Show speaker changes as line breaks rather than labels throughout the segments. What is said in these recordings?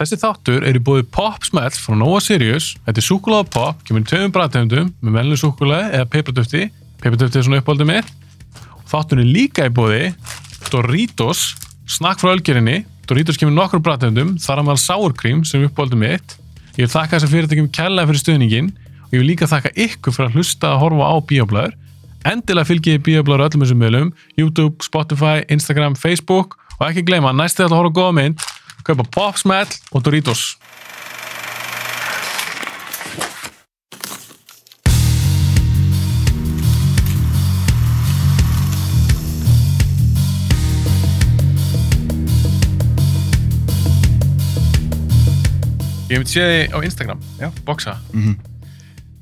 Þessi þáttur er í búið Popsmell frá Nova Sirius. Þetta er súkulega pop, kemur í tveimum bræðtegundum með melnum súkulega eða peipratöfti. Peipratöfti er svona uppáldið mitt. Þáttur er líka í búið Doritos, snakk frá ölgerinni. Doritos kemur í nokkrum bræðtegundum, þar að maður sárkrím sem er uppáldið mitt. Ég vil þakka þessar fyrirtækjum kærlega fyrir stuðningin og ég vil líka þakka ykkur fyrir að hlusta að horfa á bíoblæður. Endilega fylgjið bíoblæður öllum þessum meðlum, YouTube, Spotify, Instagram, Facebook og ekki gleyma, næstu þetta að horfa á góða mynd, kaupa Popsmell og Doritos. Ég hef myndi séð þig á Instagram,
Já.
boxa. Mm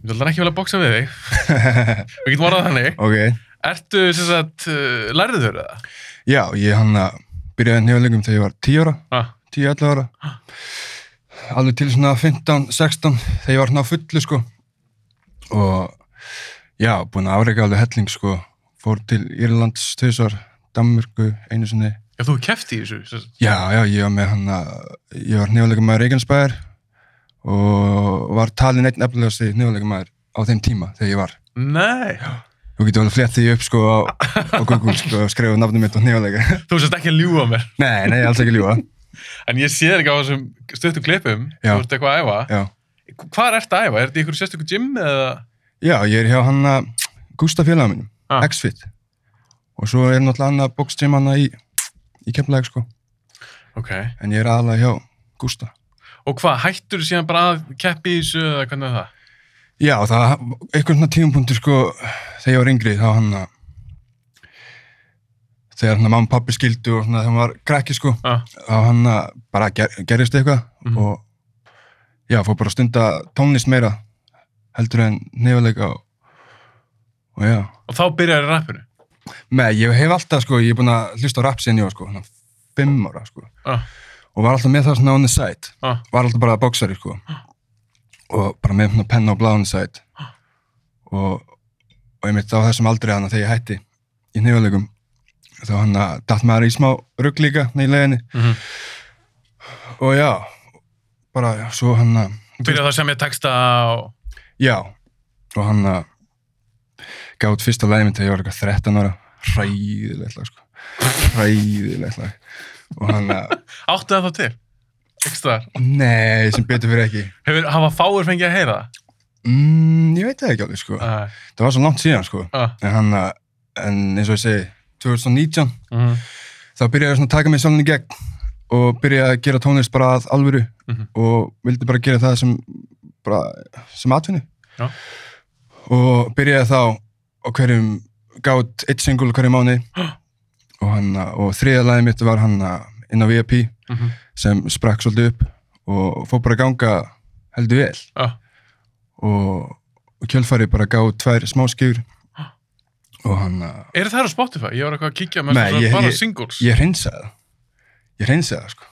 Ég vil aldrei ekki vilja boxa við þig. Við getum orðað þannig.
Ok,
Ertu, sem sagt, uh, lærið þurr eða?
já, ég hann að byrjaði nefnilegum þegar ég var 10 ára,
Ah,
10-11 ára, alveg til svona 15-16 þegar ég var hann á fullu sko og já, búin að afreika alveg helling sko, fór til Írlands tvisar, Danmörku einu sinni,
já, þú hefur keft í þessu. sem sagt.
já, já, ég var með hann að, ég var nefnilegum maður Reykjanesbæðar og var talin einn efnilegasti nefnilegum maður á þeim tíma þegar ég var.
Nei,
Þú getur alveg flett því upp sko á, á Google sko og skrifa nafnum mitt og nefnilega.
þú sérst ekki að ljúga mér.
Nei, nei, alls ekki ljúa.
En ég sé þig á þessum stuttum klippum,
Já.
þú ert eitthvað að æfa.
Já.
Hvar ertu að æfa? Er þetta í ykkur sérstökum gym eða?
Já, ég er hjá hann að Gústa félaga mínum,
Ah.
X-Fit og svo er náttúrulega annað bókstjum hann í, í kemlaðeg sko
Ok.
en ég er aðalega hjá Gústa
Og hvað, hættur þú síðan bara að keppi í þessu eða hvernig er það?
Já, það eitthvað svona tímupunktur sko þegar ég var yngri þá hann að þegar hann að mamma og pappi skildu og svona þegar hann var krakki sko
Ah.
þá hann að bara ger, gerist eitthvað
Mhm.
og já, fór bara að stunda tónlist meira heldur en nefnilega og, og já
Og þá byrjar í rappinu.
Nei, ég hef alltaf, sko, ég hef búin að hlusta á rap síðan ég var, sko, hann fimm ára, sko.
Ah.
Og var alltaf með það svona on the side.
Ah.
Var alltaf bara boksari, sko. Og bara með svona penna og blá on the side. Og, og ég mitt á þessum aldrei hann að þegar ég hætti í nefnilegum, þá hann að datt maður í smá rugg líka, nei, í leiðinni.
Mhm.
Og já, bara, já, svo hann að,
Byrjar það sem ég texta og...
já, og hann að gaf út fyrsta lægmynd þegar ég var eitthvað 13 ára. Ræðilegt lag, sko. Ræðilegt lag. Og hann að,
Áttu það þá til? Ekstra.
Nei, sem betur fyrir ekki.
Hefur, hafa fáir fengið að heyra það?
Mm, ég veit það ekki alveg, sko.
Ah.
Það var svo langt síðan, sko.
Ah.
En hann, uh, en eins og ég segi, 2019,
Mm.
þá byrjaði ég svona að taka mig sjálfinn í gegn og byrjaði að gera tónlist bara að alvöru
Mhm.
og vildi bara gera það sem, bara, sem atvinni.
Já.
Og byrjaði þá á hverjum, gátt eitt single á hverjum mánu og, hann, uh, og þriða lagið mitt var hann uh, inn á VIP
Mhm.
sem sprakk svolítið upp og fór bara að ganga heldur vel.
Ah.
og, og kjölfari bara gáð tvær smáskjur og hann að
Er það á Spotify? Ég var eitthvað að kíkja með
Nei,
svona
ég-
bara
ég-
singles.
ég hreinsaði það ég hreinsaði það sko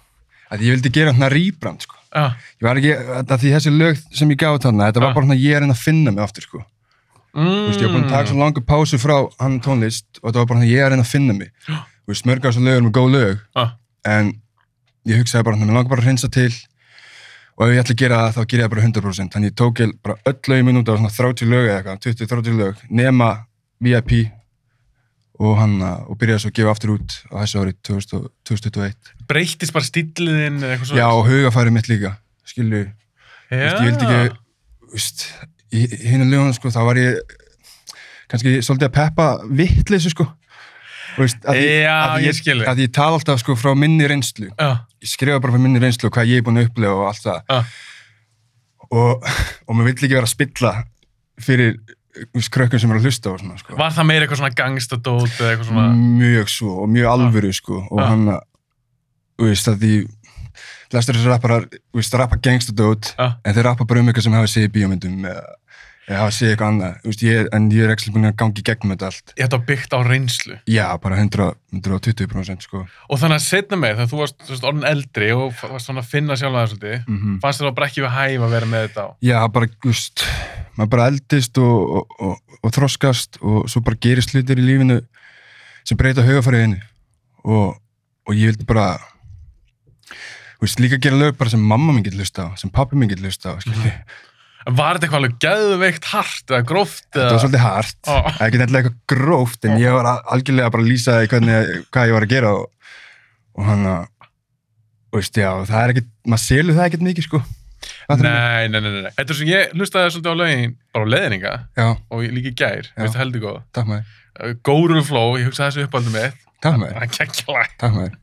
að ég vildi gera hérna rýbrand sko
Ah.
ég var ekki, að því þessi lög sem ég gáð þarna þetta
Ah.
var bara hérna ég er hérna að finna mig aftur sko
Mm.
Þú veist, ég var búin að taka svo langa pásu frá hann tónlist og þetta var bara hérna ég er hérna að finna mig Þú veist, mörg á þessu lögur með góð lög
Ah.
en ég hugsaði bara hérna, mér langar bara að hreinsa til og ef ég ætla að gera það, þá gera ég það bara 100% þannig ég tók ég bara öll lögum minn út á svona 30 lög eða eitthvað, 20-30 lög nema VIP og hann, og byrjaði svo að gefa aftur út á þessu ári 2000 2021
Breytist bara stíliðin eða eitthvað
já,
svona?
og hugafærið mitt líka, skilju Vist, ég vildi ekki, vist, í hinn að lögum, sko, þá var ég kannski svolítið að peppa vittleysu, sko. Og Vist, að því-
Já,
að því
ég skil þig.
Að því ég tala alltaf, sko, frá minni reynslu.
Já,
Ég skrifa bara frá minni reynslu og hvað ég er búin að upplega og allt það.
já.
Og, og mér vildi ekki vera að spilla fyrir vist, krökkum sem eru að hlusta og svona, sko.
Var það meira eitthvað svona gangstadót eða eitthvað svona...
Mm. Mjög svo og mjög alvöru, sko. Og
Já.
hann, að- þú veist, að því flestur þessu rapparar, þú veist, rappa gangstadót
Já,
en þeir rappa bara um eitthvað sem hafa séð í bíómyndum eða, eða hafa séð eitthvað annað Þú veist, ég, en ég er ekki búin að gangi gegnum þetta allt
ég þetta var byggt á reynslu.
já, bara 100, 120% sko.
Og þannig að setna með þegar þú varst, þú varst orðin eldri og varst svona að finna sjálf aðeins svolítið,
mm -hmm.
fannst þér það bara ekki við hæf að vera með þetta á?
já, bara, þú veist maður bara eldist og, og, og, og þroskast og svo bara gerist hlutir í lífinu sem breyta hugafæriðinu og, og ég vildi bara Þú veist, líka gera lög bara sem mamma minn getur hlusta á, sem pappi minn getur hlusta á, skilji.
Var þetta eitthvað alveg geðveikt hart eða gróft
Þetta var
eða...
svolítið hart,
Ó.
það er ekki nefnilega eitthvað gróft, en ég var að- algjörlega bara að lýsa því hvernig, hvað ég var að gera og, og hann að, þú veist, já, það er ekkert, maður selur það ekkert mikið, sko. Fattar mig?
Nei, nei, nei, nei. nei. Þetta er sem ég hlustaði svolítið á lögin bara á leðninga
Já,
og ég- líka í gær,
Já.
veist það heldur góð.
takk maður,
Górun Flow, ég hugsaði þessu uppáldum mitt,
takk
það
maður,
er kekkjala.
takk maður.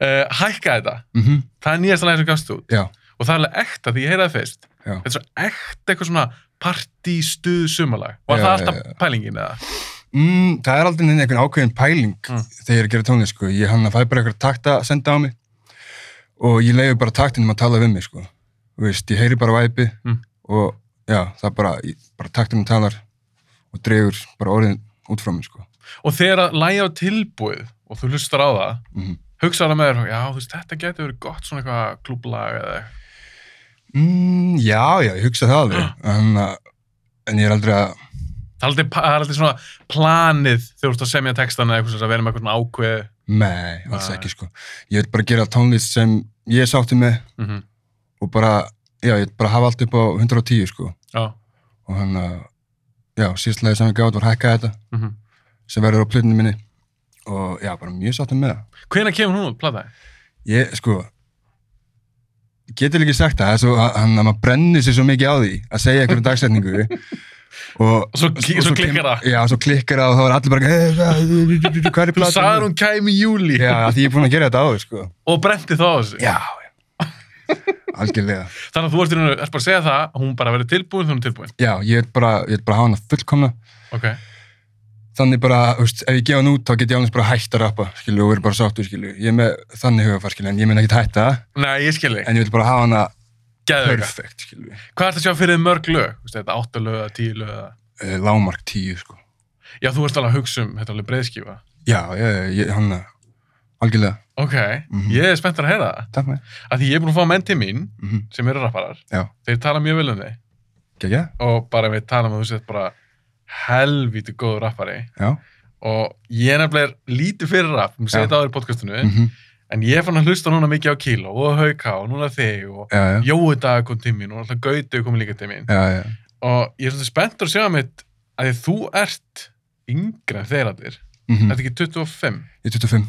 Uh, hækka þetta,
Mm
það er nýjast að læra sem gafst út
Já,
og það er alveg ekta því ég heyraði fyrst.
Já.
Þetta er svo ekta eitthvað svona partístuð sumalag. Var
Já,
það
já,
alltaf
já.
pælingin eða?
mm, það er aldrei neina einhvern ákveðin pæling
Mm.
þegar ég er að gera tónlist, sko. Ég hann að fæ bara eitthvað takta að senda á mig og ég leiði bara taktinum að tala við mig, sko. Þú veist, ég heyri bara væpi
Mm.
og já, það bara, ég, bara taktinum talar og dregur bara orðin út frá mér, sko.
Og þegar að læja á tilbúið og þú hlustar á það,
Mm.
hugsaði með þér, já, þú veist, þetta getur verið gott svona eitthvað klúblag eða eitthvað.
Mm, já, já, ég hugsa það alveg.
Mm.
En, en ég er aldrei að,
Það er aldrei, pa- það er aldrei svona planið þegar þú ert að semja textana eða eitthvað sem að vera með eitthvað svona ákveð.
nei, alls
Nei.
ekki, sko. Ég vil bara gera tónlist sem ég er sátti með
Mm -hmm.
og bara, já, ég vil bara hafa allt upp á 110, sko.
Já.
og hann að já, síðastlega sem ég gátt var hækka þetta
Mm -hmm.
sem verður á plötinu minni og já, bara mjög sáttum með það
Hvenær kemur hún út, plataði?
ég, sko getur ekki sagt það, það er svo, að- hann að maður brennir sér svo mikið á því að segja einhverju dagsetningu og
Og svo, og svo klikkar það.
já, svo klikkar það og þá er allir bara "Eh, hvað hvað er í
Þú
platan
sagðir hún kæmi í júli
já, af því ég er búinn að gera þetta áður, sko
og brendi það á þessu.
já, já algjörlega
Þannig að þú ert, í raun og- ert bara að segja það að hún bara verið tilbúin þegar hún er tilbúin.
já, ég er bara, ég er bara að hafa hana fullkomna
Ok.
þannig bara, þú veist, ef ég gefa hann út þá get ég alveg bara hægt að rappa, skilju, og verið bara sáttu, skilju ég er með þannig hugafar, skilju, en ég meina ekki hætta
Nei, ég skilji.
en ég vil bara hafa hana
Gæðvega.
perfect, skilju
Hvað ert að sjá fyrir þér mörg lög? Þú veist, Þetta áttu lög eða tíu lög eða...
Eh, lágmark tíu, sko
Já, þú ert alveg að hugsa um, þetta er alveg breiðskífa.
já, ég, ég hann, algjörlega
Ok,
Mhm.
ég er spenntur að heyra það.
takk með,
Af því ég er búin að fá menn til mín
mm -hmm.
sem eru rapparar.
já,
Þeir tala mjög vel um þig.
gegja,
og bara við tala um að þú sett bara helvíti góður rappari
já
og ég nefnilega er lítið fyrir rapp, mér segið
Já.
þetta á þér í podcastinu
mm
en ég er fann að hlusta núna mikið á Kíló og Hauká og núna þig og
já, já,
Jói dag kom til mín og alltaf Gauti kom líka til mín
já, já
og ég er svolítið spenntur að sjá mitt að því þú ert yngre en þeir allir,
mm
mm. ertu ekki 25
ég er 25,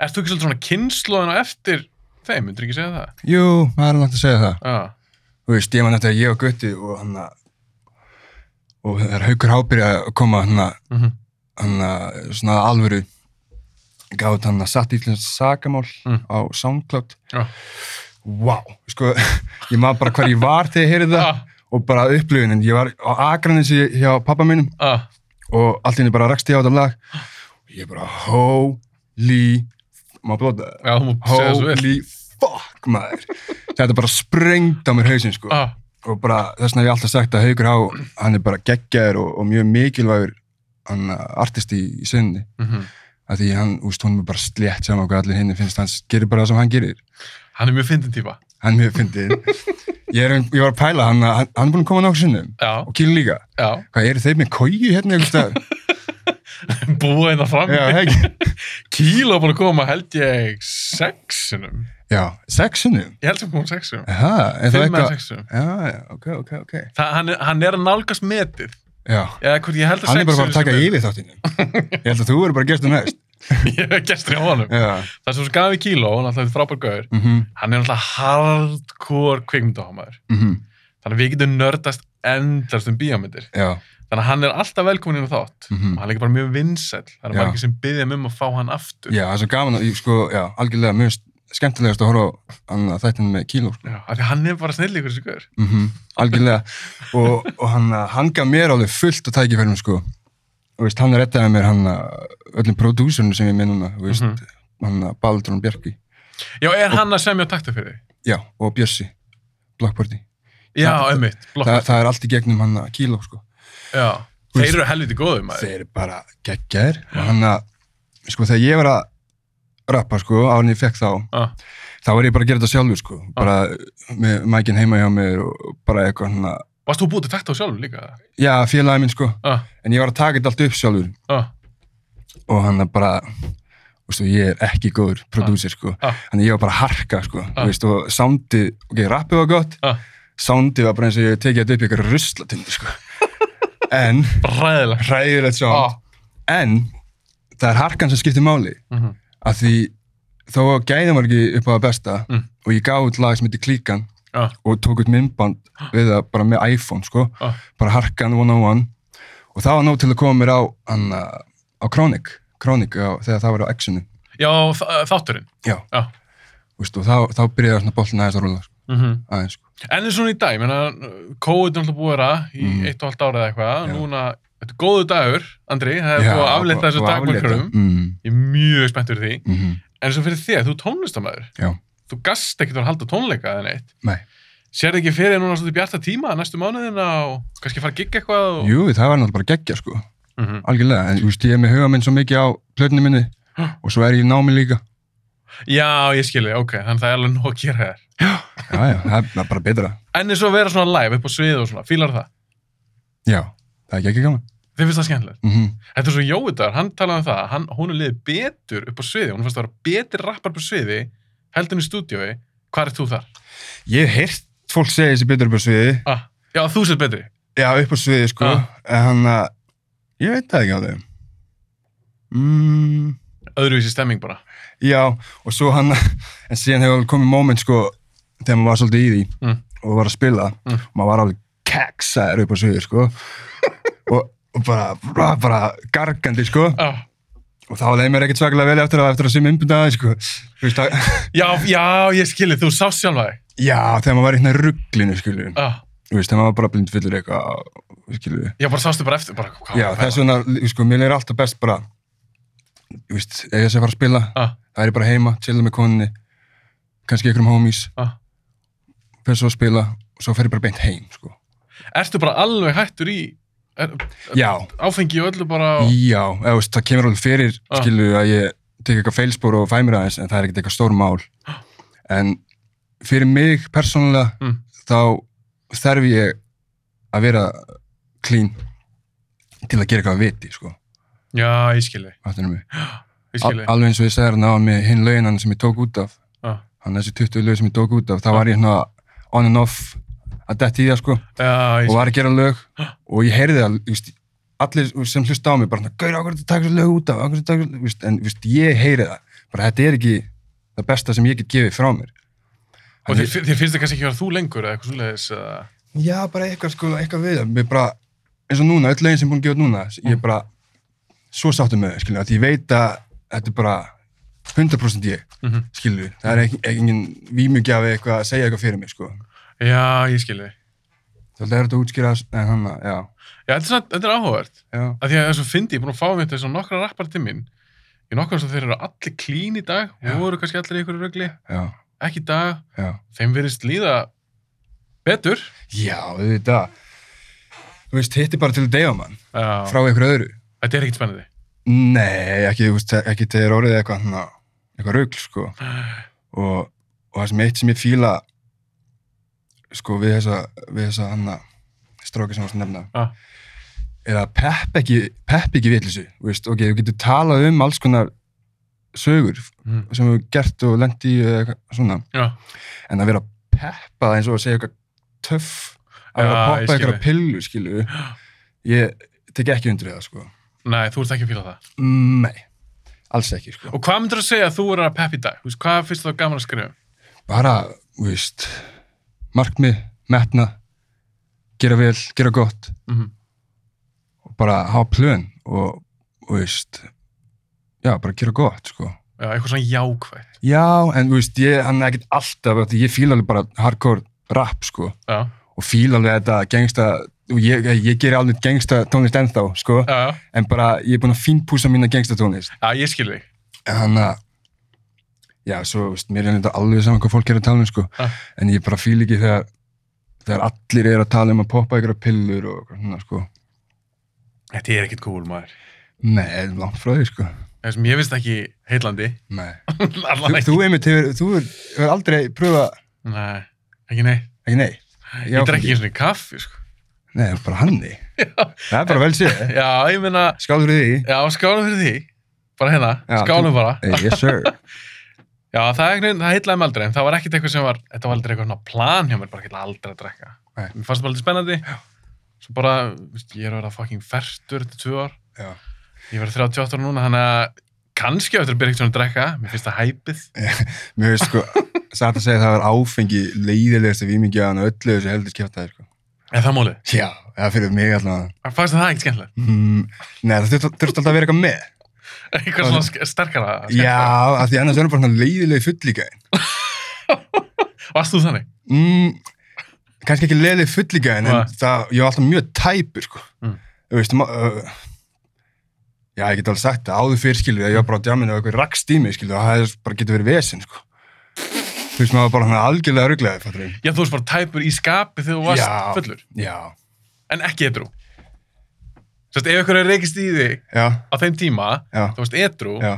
ert þú ekki svolítið svona kynnslóðin á eftir þeim, myndur ekki segja það?
jú, maður er langt að segja það
Ah.
þú veist, ég man þetta að ég og Gutti og hann að- og það er haukur hábyrja að koma hann að
Mm -hmm.
hann að svona alvöru gáði hann að satt ítlens sagamál
Mm.
á SoundCloud
Já.
Vá, sko, ég maður bara hvar ég var þegar ég heyrði það
ah,
og bara upplifunin, ég var á Akranesi hjá pappa mínum
ah.
og allt henni bara rakst ég á þetta lag og ég bara holy má blóta það?
Já, þú mútt segja þessu vel
holy fuck maður þetta bara sprengt á mér hausinn sko
ah.
og bara þess vegna hef ég alltaf sagt að Haugur Há hann er bara geggjaður og, og mjög mikilvægur hann uh, artist í, í sinni
mm
að því hann, úst, hún er bara slétt saman hvað allir hinn finnst, hann gerir bara það sem hann gerir
Hann er mjög fyndin típa
hann mjög fyndið ég, er, um, ég var að pæla, hann, hann, hann er búin að koma nokkur sinnum
Já,
og kýr líka,
já
hvað eru þeir með kóju hérna einhvers staðar?
búa hérna fram
já, hegi,
kíla búin að koma held ég sexunum
já, sex sinnum
ég held sem kom sexunum
Aha, er það
fimm eða
eitthvað
sexunum
já, já, ok, ok, ok
Þa, hann, er, hann er að nálgast metið
já,
eða hvort ég held að
hann er bara að fara
sexunum
að taka yfir þáttinu ég held að þú eru bara að gera þetta næst
ég hef gestur í honum
já,
það er svo skafi kíla og náttúrulega frábær gaur
mhm,
hann er náttúrulega hardcore kvikmyndahámaður
mhm,
þannig að við getum nördast endast um bíómyndir
já
þannig að hann er alltaf velkomin inn á þátt
mhm.
og hann er líka bara mjög vinsæll það er
Já.
margir sem byggja um að fá hann aftur
Já, það er svo gaman að, ég, sko, já, algjörlega mjög skemmtilegast að horfa á hann að þættinu með kíló, sko.
Já, af því að hann er bara snillíkur þessi gaur
Mm Algjörlega. og, og hann, að- hann gaf mér alveg fullt á tækifærum, sko. Og veist, hann rettaði mér hann að öllum prodúsurnum sem ég er með núna, þú veist,
Mhm.
hann að Baldur og Bjarki.
já, er hann að semja takta fyrir þig?
Já, og Bjössi, Blockparty.
já,
Það-
einmitt, blokk
Þa, það er allt í gegnum hann að kíló, sko.
Já,
Þú
þeir
veist-
eru helviti góðu maður.
Þeir eru bara geggjær og hann að, sko, þegar ég var að rappa, sko, á hann ég fekk þá,
Ah,
þá var ég bara að gera þetta sjálfur sko bara með mækin heima hjá mér og bara eitthvað hann að
varst þú búið til takt á sjálfur líka?
já félagi minn sko
Ah,
en ég var að taka þetta allt upp sjálfur
ah,
og hann að bara veist, og ég er ekki góður prodúsir sko.
Ah.
þannig ég var bara að harka sko.
Ah.
ah. veist, og soundið, ok, rappið var gott
Ah.
soundið var bara eins og ég hef tekið þetta upp í ykkur ruslatundi sko. en
Ræðilega.
hræðilegt sound
Ah.
en það er harkan sem skiptir máli
Mhm.
að því þó að gæðin var ekki upp á það besta
Mm.
og ég gaf út lag sem heitir Klíkan
Ah.
og tók út myndband við það bara með iPhone sko,
Ah.
bara harkan one on one og það var nóg til að koma mér á hann, uh, á Chronic, Chronic á, þegar það var á Exxonu
Já, þa- þátturinn.
Já.
Já.
veist, og þá, þá byrjaði svona bollin aðeins að rúla
Mhm.
aðeins sko.
En eins og svona í dag, ég meina, COVID er alltaf búið að vera í
Mhm.
eitt og halvt ára eða eitthvað,
Já.
núna, þetta er góðu dagur, Andri, það er búið að aflita þessu
og- og
dagmarkurum,
aflétta.
ég
mm,
er mjög spennt fyrir því,
mm,
en eins og fyrir þér, þú er tónlistamæður,
Já,
þú gast ekkert að halda tónleika eða neitt,
nei
sérðu ekki fyrir þér núna svona bjarta tíma, næstu mánuðina og kannski fara að gigga eitthvað og...
Jú, það var náttúrulega bara geggja sko
Mhm.
algjörlega, en þú veist, ég er með huga minn svo mikið á plötni minni og svo er ég í námi líka
Já, ég skilji, ok, þannig það er alveg nóg að gera þér.
já, já, það er- það er bara betra
En eins og að vera svona live upp á svið og svona, fílar það?
já, það er ekki ekki gaman
Þið finnst það skemmtilegt.
mm
Þetta er svo Jói Dagur, hann talaði um það, hann, hún er liðið betur upp á sviði, hún fannst að vera betur rappar upp á sviði, heldin í stúdiói, hvað er þú þar?
ég hef heyrt fólk segja þessi betur upp á sviði
Ah, já, þú sér betri.
já, upp á sviði sko
Já.
en hann að, ég veit það ekki alveg mm,
Öðruvísi stemming bara.
já, og svo hann að- en síðan hefur alveg komið moment sko þegar maður var svolítið í því
Mm.
og var að spila
Mm.
og maður var alveg keksaður upp á sviði sko og, og bara, bara, bara gargandi sko
Ah,
og þá leið mér ekkert svaklega vel eftir að eftir að sem umbyndaði sko. Þú veist að,
já, já, ég skilji, þú sást sjálfa þig.
já, þegar maður var í hérna rugglinu skilju,
Ah,
þú veist, þegar maður var bara blind fyllur eitthvað skilju,
já, bara sástu bara eftir, bara hvað.
já, þess vegna sko, mér er alltaf best bara þú veist, ef ég sé að fara að spila
Ah,
það er ég bara heima, chilla með koninni kannski ykkur um homies,
ah.
fyrir svo að spila og svo fer ég bara beint heim, sko
Ertu bara alveg hættur í er,
já,
áfengi og öllu bara...
já, eða, þú veist, það kemur alveg fyrir
Ah.
skilju að ég tek eitthvað feilspor og fæ mér aðeins, en það er ekkert eitthvað stór mál en fyrir mig persónulega
Mm.
þá þarf ég að vera clean til að gera eitthvað að viti, sko,
Já, ég skilji,
áttunum mig.
ég
Al
skilji.
alveg eins og ég segir hann á með hinn löginan sem ég tók út af,
Ah.
hann þessi 20 lög sem ég tók út af, þá var ég svona on and off að detti í það, sko,
Já, ég
og
skilji.
var að gera lög og ég heyrði það, þú veist, allir sem hlusta á mig bara, gauður, okkur þetta takur þessu lög út af, okkur þetta takur, þú veist, en, þú veist, ég heyri það, bara þetta er ekki það besta sem ég get gefið frá mér.
Og þér, þér finnst það kannski ekki að vera þú lengur eða eitthvað svoleiðis eða...
Já, bara eitthvað sko, eitthvað við það. Mér bara, eins og núna, öll lögin sem búin að gefa út núna, ég er bara svo sáttur með þau, skilju, að ég veit að þetta er bara 100% ég,
Mm
skilju. Það er ekki, ekki engin vímugjafi eitthvað að segja eitthvað fyrir mig, sko.
Já, ég skilji.
Það er þetta að útskýra, en hann að, já,
Já, þetta er, svona, þetta er áhugavert.
já,
Af því að þess að fyndi, ég er búin að fá mér þess að nokkra rappar til mín. Ég nokkra þess að þeir eru allir klín í dag,
Já.
voru kannski allir í ykkur rögli,
já,
ekki í dag,
já.
þeim verðist líða betur.
Já, við veit það. Þú veist, hitti bara til að deyfa mann,
Já,
frá einhverju öðru.
þetta er ekkit spennandi.
Nei, ekki, þú veist, ekki þegar orðið eitthvað, hana, eitthvað rugl, sko. Og, og það sem eitt sem ég fíla, sko, við þessa, við þessa hana, stróki sem þú varst að nefna,
Ah.
er að pepp ekki, pepp ekki vitlisu, veist, ok, þú getur talað um alls konar sögur
Mm.
sem þú hefur gert og lent í eða eitthvað svona,
Já,
en að vera peppað eins og að segja eitthvað töff, að
Já,
vera að
ég
poppa
skil
eitthvað
þig.
pillu, skilu, ég tek ekki undir það, sko.
nei, þú ert ekki að fíla það.
Nei, alls ekki, sko.
Og hvað myndir að segja að þú eru að peppa í dag? Þú veist, Hvað finnst þú gaman að skrifa? um?
bara, þú veist, markmið, metna, gera vel, gera gott
Mhm.
og bara hafa plön og, þú veist, já, bara gera gott, sko.
Já, eitthvað svona jákvægt.
Já, en, þú veist, ég, hann er ekkert alltaf, af því ég fíla alveg bara hardcore rap, sko,
Já,
og fíla alveg þetta gengsta, og ég, ég geri alveg gengsta tónlist ennþá, sko,
já, já.
en bara, ég er búinn að fínpúsa mína gengsta tónlist.
Já, ég skilji.
þannig að já, svo, þú veist, mér er þetta alveg saman hvað fólk er að tala um, sko,
Ah.
en ég bara fíl ekki þegar þegar allir eru að tala um að poppa ykkur pillur og eitthvað svona, sko
Þetta er ekkit cool, maður.
nei, það er langt frá því, sko
Það sem ég finnst ekki heillandi.
nei, þú,
Allan
þú
ekki.
einmitt hefur, þú hefur, hefur aldrei pröfa,
Nei, ekki nei.
ekki nei
Ég drekki
áfengi.
ekki eins og kaffi, sko.
nei, það er bara hann því það er bara vel séð,
Já, ég meina,
skálur því
já, skála fyrir því. bara hérna,
Já,
skálum
þú-
bara
Yes sir.
já, það, einhvern veginn- það heitlaði mig aldrei, en það var ekkert eitthvað sem var þetta var aldrei eitthvað svona plan hjá mér, bara ekki aldrei að drekka
Nei.
mér fannst það bara aldrei spennandi svo bara, veist, ég er að vera fucking færtur þetta tvö ár,
Já.
ég verið 38 ára núna þannig að kannski á eftir að byrja eitthvað að drekka mér finnst það hæpið
Mér veist sko, satt að segja að það var áfengi leiðilegast af ímyngjaðan og öllu þessu heldur skiptaði sko.
en það málið,
Já, það fyrir mig allavega.
fannst það ekkert skemmtilegt
Mm, nei, það þurft þurft alltaf að vera eitthvað með.
eitthvað svona sk- sterkara
Já,
skemmtilegra.
af því annars verður bara svona leiðileg fullíkaðin.
varst þú þannig?
Mm, kannski ekki leiðileg fullíkaðin,
Nei.
en það, ég var alltaf mjög tæpur sko.
Mm.
Þú veist, ma- ö, já, ég get alveg sagt það, áður fyrir skilur, ég var bara á djáminu og eitthvað rakst í mig skilur, og það hefði bara getur verið vesinn sko. Þú veist, maður var bara hann algjörlega ruglaði, fattur ég.
já, þú varst bara tæpur í skapi þegar þú varst
Já.
fullur
Já,
en ekki edru Sest, ef ykkur er reykist í þig
já,
á þeim tíma,
já,
þú veist edru
já.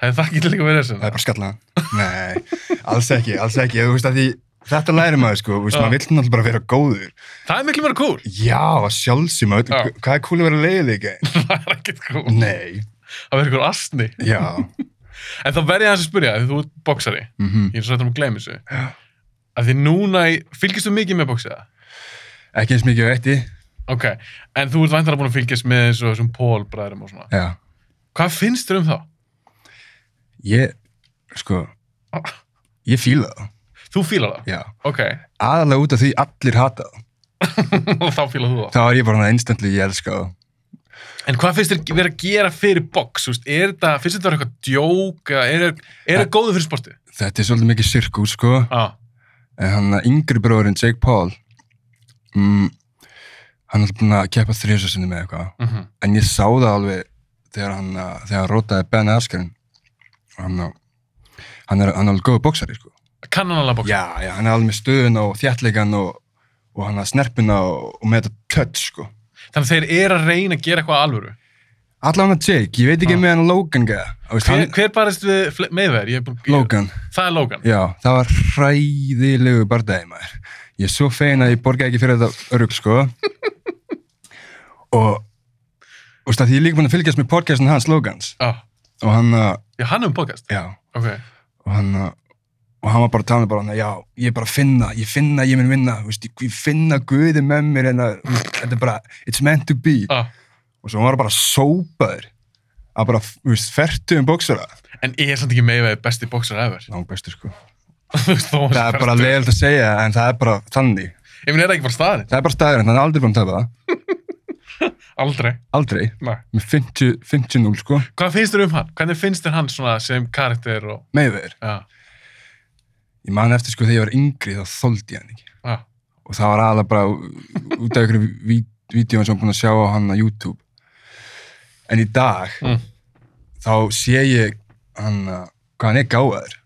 hefði það ekki líka verið
það
þessu
er bara skallaðan nei, alls ekki, alls ekki þú veist að því, þetta læri maður sko þú veist,
Já.
maður vill náttúrulega bara vera góður
það er miklu meira cool
já, að sjálfsum öll,
Já.
hvað er cool að vera leiðilega
það er ekkert cool,
nei,
það verður ykkur astni
já
en þá verð ég aðeins að spyrja, því þú ert boksari
mm
ég er svo hættur að gleyma þessu að því núna, í- fylgist þú mikið með boksiða?
ekki eins mikið veitti
ok, en þú ert væntanlega búin að fylgjast með eins og þessum Pól bræðurum og svona
já,
hvað finnst þér um þá?
ég, sko ég fíla það,
þú fílar það?
já
ok,
aðalega út af því allir hata það
og þá fílar þú það
þá er ég bara hann instantly, ég elska það
En hvað finnst þér verið að gera fyrir box? Úst? Er þetta, finnst þetta verið eitthvað djók? eða Er, er það góðu fyrir sportið?
þetta er svolítið mikið sirkus sko
Ah,
en hann að yngri bróðurinn Jake Paul mm, hann er búin að keppa þrjusasinni með eitthvað
mm
en ég sá það alveg þegar hann, uh, þegar hann rótaði Ben Askren hann, uh, hann er hann er alveg góð bóksari sko.
Kann hann alveg box?
já, já, hann er alveg með stöðun og þjallegan og, og hann að snerpuna og, og með þetta touch sko.
Þannig að þeir eru að reyna að gera eitthvað alvöru.
allan að Jake, ég veit ekki
Ah.
með hann Logan gæða, Þú veist,
Hver,
hann,
hver barist við meðverð?
Logan,
Það er Logan.
já, það var hræðilegu bardagi maður ég er svo fegin að ég borga ekki fyrir þetta örugl sko og Þú veist að því ég er líka búin að fylgjast með podcastin hans Logans
Ah,
og hann, uh,
já, hann er um podcast.
já,
Ok.
og hann uh, og hann var bara að tala bara hann já, ég er bara að finna, ég finna, ég mun vinna þú veist, ég, ég finna Guði með mér en að, þú veist, þetta er bara, it's meant to be
Ah.
og svo hann var bara sópaður að bara, þú veist, fertu um bóksara
En ég er samt ekki meðverð besti boxar ever.
langt bestur sko,
Þú veist, þó hann sé
það er bara
bestur.
leiðilegt að segja en það er bara þannig,
Ég minn, er það ekki bara staðarinn?
það er bara staðurinn, hann er aldrei búin að tapa það,
Aldrei.
aldrei
Nei.
með 50 50-0 sko,
Hvað finnst þér um hann? Hvernig finnst þér hann svona sem karakter og...
meðveður
Já,
ég man eftir sko þegar ég var yngri þá þoldi ég hann ekki
já,
og það var aðalega bara ú- út af ykkur vídjón sem ég var búin að sjá á hann á YouTube en í dag
Mm.
þá sé ég hann uh, hvað hann er gáðar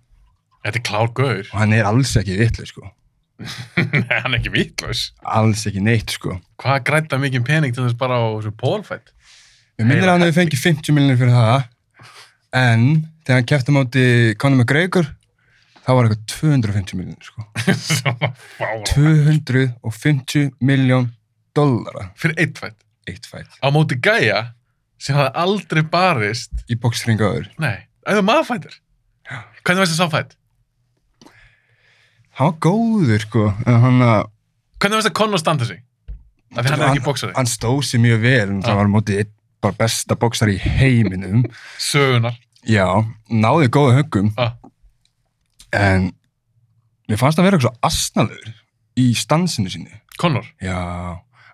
þetta er klár gaur.
og hann er alls ekki vitlega sko
Nei, hann er ekki vitlaus.
alls ekki neitt sko
hvað græta mikið pening til þess bara á þessu pólfætt?
við minnir
Heila
að hann hefur fengið 50 miljonir fyrir það en þegar hann kæfti á móti Conor McGregor þá var eitthvað 250 miljonir sko
Svona fára.
250 miljón dollara
Fyrir eitt fætt.
eitt fætt
Á móti gæja sem hafði aldrei barist,
í bóksringaður
nei, auðvitað maðurfættur. Hvernig varst það sá fætt?
hann var góður sko en hann að
Hvernig varst það konn og standa sig? Af því hann er ekki bóksari.
hann stóð sér mjög vel en
Já.
það var mótið einn bara besta bóksar í heiminum
Sögunar.
já, náði góða höggum
Ah.
en mér fannst það vera eitthvað svo asnalur í stansinu sinni
Connor.
já,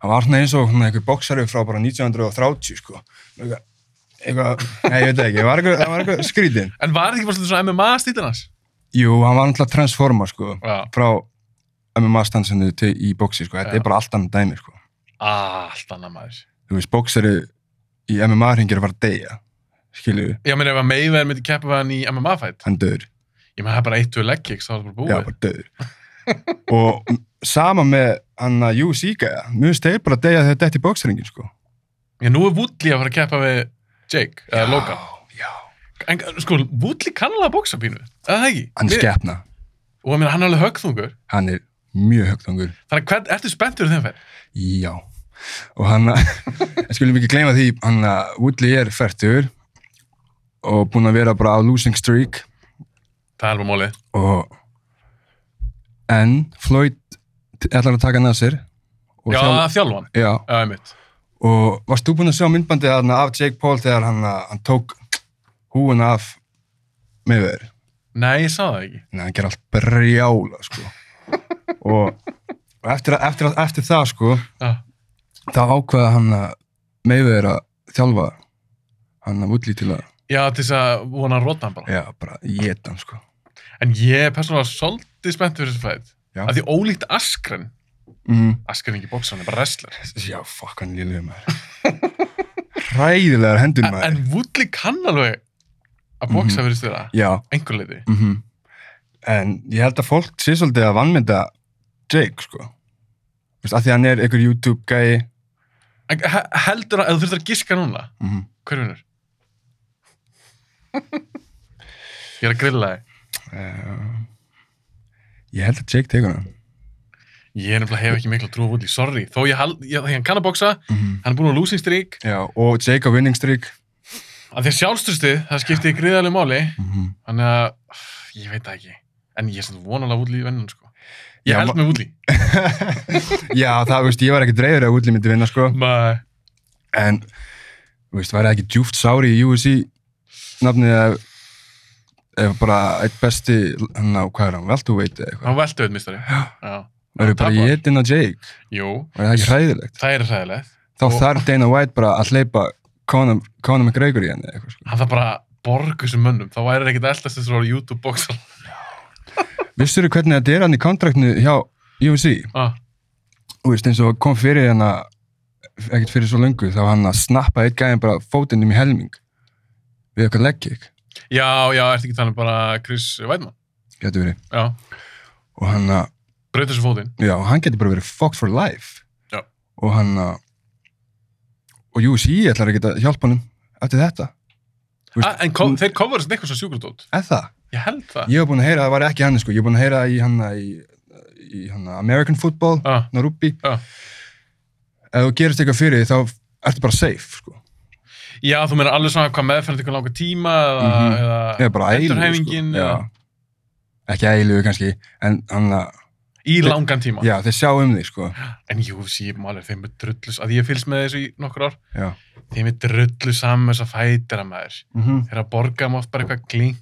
hann var svona eins og svona einhver bóksari frá bara 1930 sko eitthvað, eitthvað nei, ég veit það ekki, hann var eitthvað, hann var eitthvað skrítin
En var þetta ekki bara svolítið svona MMA stílinn hans?
jú, hann var náttúrulega transforma sko
Já.
frá MMA stansinu til, í bóksi sko, þetta
Já.
er bara allt annað dæmi sko
Allt annað maður.
þú veist, bóksari í MMA ringir var að deyja skilju,
Ég meina ef að Mayweather myndi keppa við hann í MMA fætt,
hann döður
ég meina það er bara eitt og leg kicks, þá er það
já,
bara búið.
bara döður og sama með hann að Jú Sýka mjög stegur bara að deyja þegar þetta er bóksringin sko.
Já, nú er Woodley að fara að keppa við Jake, eða Logan.
já.
En sko, Woodley kannala að bóksa pínu, eða það ekki?
hann er
Mér-
skeppna,
og ég meina, hann er alveg högþungur
hann er mjög högtangur
þannig að hvern, ertu spenntur um þegar fær?
já og hann að en skulum ekki gleyma því hann að Woodley er færtur og búin að vera bara á losing streak
Það er alveg mólið.
og en Floyd t- ætlar að taka hann að sér og,
Já, það er þjálfan.
já,
Já, einmitt.
og varst þú búin að sjá myndbandið þarna af Jake Paul þegar hann, að- hann tók húin af með þeir
Nei, ég sá það ekki.
Nei, hann ger allt brjála sko. og, og eftir, að, eftir, að, eftir það sko,
Já.
þá ákvaða hann að Mayweather að þjálfa hann að vulli til að
Já, til þess að vona að rota hann bara.
já, bara geta hann sko.
En ég er persónulega svolítið spennt fyrir þessu fætt.
Já.
Af því ólíkt Askren,
mm.
Askren er ekki bóksa, hann er bara wrestler.
já, fuck hann lélegu maður ræðilegar hendur
En,
maður
en Woodley kann alveg að bóksa
Mhm.
fyrir stöða,
já,
einhver leiti.
mhm en ég held að fólk sé svolítið að vannmynda Jake sko Vist, að því að hann er einhver YouTube gæi
En he- heldur að, ef þú þurftir að giska núna,
mm
hver vinnur? ég er að grilla þig.
Eh, ég held að Jake tegur hann
Ég er nefnilega hef ekki mikla trú á Woodley, sorry. Þó ég, hal, ég því hann kann að bóksa,
mm
hann er búin á losing streak,
já, og Jake á winning streak
af því að sjálfstrustið, það skipti gríðarlega máli.
mhm
Þannig að, öff, ég veit það ekki. En ég er svona vonalega Woodley í vennun, sko. Ég
Já,
held
ma-
með Woodley.
Já, það, veist, ég var ekki dreifur að Woodley myndi vinna, sko.
Nei.
En, veist, væri það ekki djúft sári í UFC nafnið að ef bara eitt besti, hann á, hvað er hann, veltu veit eða eitthvað.
Hann velti auðvitað mistari. Já.
Það eru bara
tapar.
jedin á Jake,
Jú,
væri það ekki hræðilegt.
það er ræðilegt.
Þá
Og-
þarf Dana White bara að hleypa Conor Conor McGregor í henni eða eitthvað, sko.
Hann þarf bara að borga þessum mönnum. Þá væri ekkert eldast þessar ára YouTube-bóksal.
Vissur þú hvernig þetta er hann í kontraktinu hjá UFC?
Ah.
Þú veist, eins og kom fyrir hann að, ekkert fyrir svo löngu, þá var hann að snappa eitt gæðin bara fótinnum í helming við eitthvað leggkik,
Já, já, ertu ekki talað um bara Chris Weidman?
getur verið.
Já.
og hann að,
Braut þessu fótinn.
já, hann getur bara verið fucked for life
Já.
og hann að og USI ætlar að geta hjálpa honum eftir þetta, Veist-
Ah, en kom, þeir komur þessu eitthvað svo sjúkurdótt.
eða það
Ég held það.
ég hef búin að heyra, það var ekki hann sko, ég hef búin að heyra í hann í, í hann American Football
Ah.
Narubi,
Já.
ef þú gerist eitthvað fyrir því, þá ertu bara safe, sko
Já, þú meina alveg svona hvað meðferðin tekur langa tíma eða,
Mhm.
eða
eða bara eilu, sko,
Endurhæfingin,
já.
eða-
ekki eilu kannski, en hann að
í langan tíma.
já, þeir sjá um því, sko
En UFC, maður, þeim er drullus, að ég fylgst með þessu í nokkur ár,
já,
þeim er drullu saman þess að fætira maður
mm -hmm.
þeir eru að borga um oft bara eitthvað glink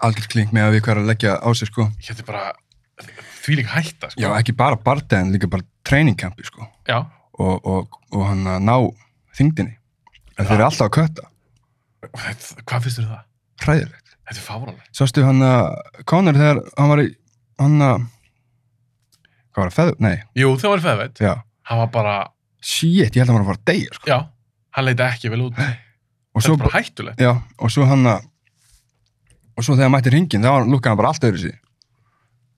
algjörð klink með að við hvað er að leggja á sig, sko
ég hætti bara því líka hætta sko.
Já, ekki bara barda en líka bara trainingkampi sko.
Já.
og, og, og hann að ná þyngdinni. En þeir eru alltaf að kötta.
Og þetta, hvað finnst þér um það?
Hræðilegt.
Þetta er fárálega
Sástu hann að Conor þegar hann var í, hann að, hvað var það, feður? Nei,
Jú, það var feðveit,
já.
hann var bara
Shit, ég held að hann var að fara að deyja sko.
já, hann leita ekki vel út þetta
Og svo,
er bara hættulegt
já, og svo hann að, og svo þegar hann mætti ringin, þá var- lukkaði hann bara allt öðru sig.